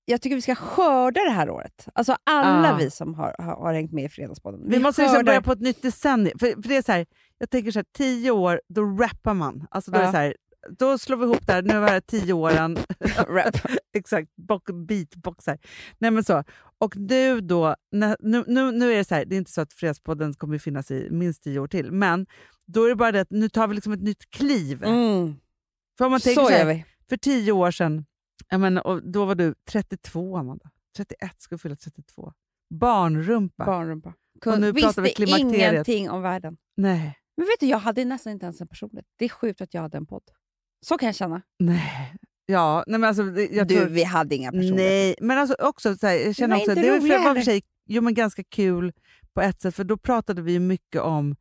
Speaker 2: jag tycker vi ska skörda det här året. Alltså alla
Speaker 3: Ah.
Speaker 2: vi som har, har, har hängt med i Fredagspodden.
Speaker 3: Vi måste liksom
Speaker 2: skördar-
Speaker 3: börja på ett nytt decennium. För, för det är så här, jag tänker så här, tio år, då rappar man. Alltså då, är
Speaker 2: Ja.
Speaker 3: det så här, då slår vi ihop det här, nu var det tio åren.
Speaker 2: *laughs* Rap.
Speaker 3: *laughs* Exakt, bock, beatboxar. Nej men så. Och nu då, nä- nu, nu, nu är det så här, det är inte så att Fredagspodden kommer finnas i minst tio år till, men då är det bara det att nu tar vi liksom ett nytt kliv.
Speaker 2: Mm.
Speaker 3: För om man tänker
Speaker 2: Så
Speaker 3: så här,
Speaker 2: gör vi.
Speaker 3: för tio år sedan, jag menar, och då var du 32 Amanda. 31, skulle fylla 32. Barnrumpa.
Speaker 2: Barnrumpa.
Speaker 3: Och nu
Speaker 2: visste
Speaker 3: pratar vi klimakteriet.
Speaker 2: ingenting om världen.
Speaker 3: Nej,
Speaker 2: Men vet du, jag hade nästan inte ens en personlighet. Det är sjukt att jag hade en podd. Så kan jag känna.
Speaker 3: nej. Ja, nej men alltså, det- jag
Speaker 2: du,
Speaker 3: tror...
Speaker 2: vi hade inga personligheter.
Speaker 3: Nej, men alltså också så här, jag känner
Speaker 2: var
Speaker 3: också,
Speaker 2: inte
Speaker 3: att det var
Speaker 2: roliga
Speaker 3: för, var för
Speaker 2: heller.
Speaker 3: sig jo, men ganska kul på ett sätt, för då pratade vi ju mycket om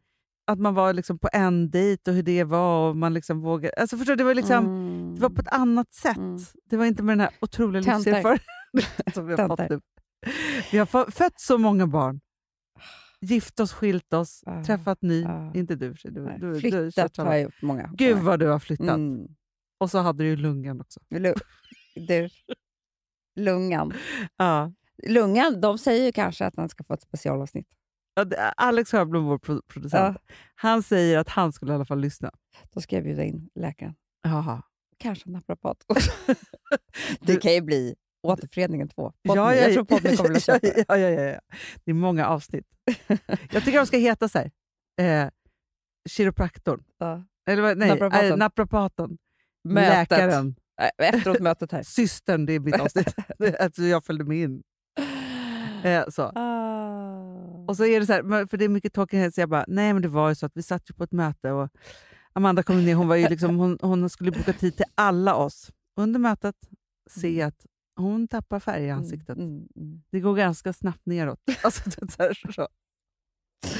Speaker 3: att man var liksom på en dejt och hur det var. Och man liksom vågade, alltså förstår, du, det, var liksom,
Speaker 2: Mm.
Speaker 3: det var på ett annat sätt.
Speaker 2: Mm.
Speaker 3: Det var inte med den här otroliga
Speaker 2: Töntar.
Speaker 3: livserfarenheten som vi har fått
Speaker 2: Töntar.
Speaker 3: nu. Vi har få- fött så många barn. Gift oss, skilt oss,
Speaker 2: Ja,
Speaker 3: träffat ny.
Speaker 2: ja.
Speaker 3: Inte du, för sig, du,
Speaker 2: Nej,
Speaker 3: du, du har
Speaker 2: Ah. Flyttat
Speaker 3: kört
Speaker 2: har
Speaker 3: alla.
Speaker 2: jag gjort många
Speaker 3: Gud vad du har flyttat.
Speaker 2: Mm.
Speaker 3: Och så hade du ju lungan också.
Speaker 2: Lu- Du. Lungan.
Speaker 3: Ja.
Speaker 2: Lungan, de säger ju kanske att han ska få ett specialavsnitt.
Speaker 3: Ja, det- Alex Högblom, vår pro- producent, han säger att han skulle i alla fall lyssna.
Speaker 2: Då ska jag bjuda in läkaren.
Speaker 3: Jaha.
Speaker 2: Kanske en naprapat.
Speaker 3: *laughs*
Speaker 2: det kan ju bli återföreningen två. Podden,
Speaker 3: Ja, ja,
Speaker 2: jag tror podden kommer att
Speaker 3: *laughs* ja,
Speaker 2: köpa.
Speaker 3: ja, ja, ja, ja. Det är många avsnitt. jag tycker de ska heta så här. Eh, kiropraktorn.
Speaker 2: Ja.
Speaker 3: Eller vad- nej,
Speaker 2: Naprapaten.
Speaker 3: eh, naprapaten.
Speaker 2: Mötet.
Speaker 3: Läkaren.
Speaker 2: Äh, Efteråt mötet
Speaker 3: *laughs*
Speaker 2: här.
Speaker 3: Systern, det är
Speaker 2: *laughs*
Speaker 3: mitt avsnitt. alltså, jag följde med in. Eh, så.
Speaker 2: Ah.
Speaker 3: Och så är det så här, men- för det är mycket tråkigt, så jag bara, nej men det var ju så att vi satt ju på ett möte och Amanda kom ner, hon, var ju liksom, hon, hon skulle boka tid till alla oss. Under mötet se att hon tappar färg i ansiktet.
Speaker 2: Mm, mm,
Speaker 3: Det går ganska snabbt
Speaker 2: *laughs*
Speaker 3: neråt. Alltså, det, är så här, så.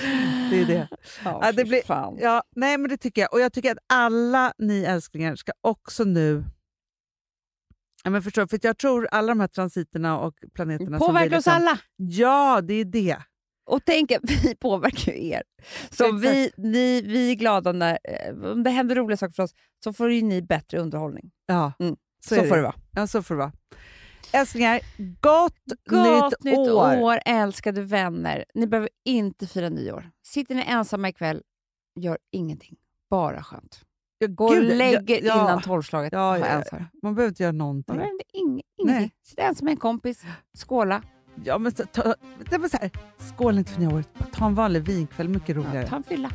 Speaker 2: mm.
Speaker 3: det är det.
Speaker 2: Ja,
Speaker 3: *laughs* Ja, det
Speaker 2: fy
Speaker 3: blir-
Speaker 2: fan.
Speaker 3: Ja, nej men det tycker jag. Och jag tycker att alla ni älsklingar ska också nu Ja, men förstår, du? för att jag tror alla de här transiterna och planeterna... som vi
Speaker 2: Påverkar oss
Speaker 3: liksom-
Speaker 2: alla.
Speaker 3: Ja, det är det.
Speaker 2: Och tänk att *laughs* vi påverkar ju er. Så
Speaker 3: Exakt.
Speaker 2: vi, ni, vi är glada när eh, om det händer roliga saker för oss, så får ju ni bättre underhållning.
Speaker 3: Ja,
Speaker 2: Mm,
Speaker 3: så,
Speaker 2: Så,
Speaker 3: är
Speaker 2: får det vara.
Speaker 3: Ja, så får det vara. Älsklingar, gott,
Speaker 2: Gott
Speaker 3: nytt, år!
Speaker 2: älskade vänner. Ni behöver inte fira nyår. Sitter ni ensamma ikväll, gör ingenting. Bara skönt.
Speaker 3: Ja,
Speaker 2: Gå och
Speaker 3: gud, ja,
Speaker 2: lägg er
Speaker 3: ja,
Speaker 2: innan tolvslaget.
Speaker 3: Ja,
Speaker 2: och
Speaker 3: ja,
Speaker 2: var
Speaker 3: ja.
Speaker 2: ensam.
Speaker 3: Man behöver inte göra
Speaker 2: Man
Speaker 3: någonting.
Speaker 2: behöver ing- ingenting. Sitta ensam med en kompis, skåla,
Speaker 3: Ja, men så, ta, det var så här, skål inte för nya året. Bara Ta en vanlig vinkväll, mycket roligare.
Speaker 2: ja, ta en fylla.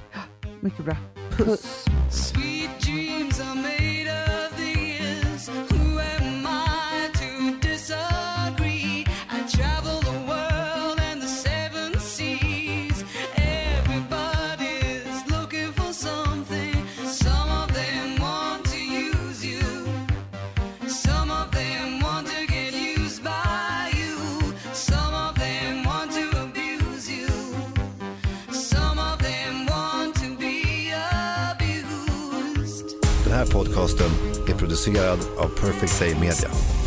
Speaker 3: Mycket bra.
Speaker 2: Puss.
Speaker 4: Sweet dreams are made of these. Who am I to disagree? I travel the world and the seven seas. Everybody's looking for something. Some of them want to use you. Some of them want to get used by you. Some of them want to abuse you. Some of them want to be abused.
Speaker 5: Den här podcasten är producerad av Perfect Day Media.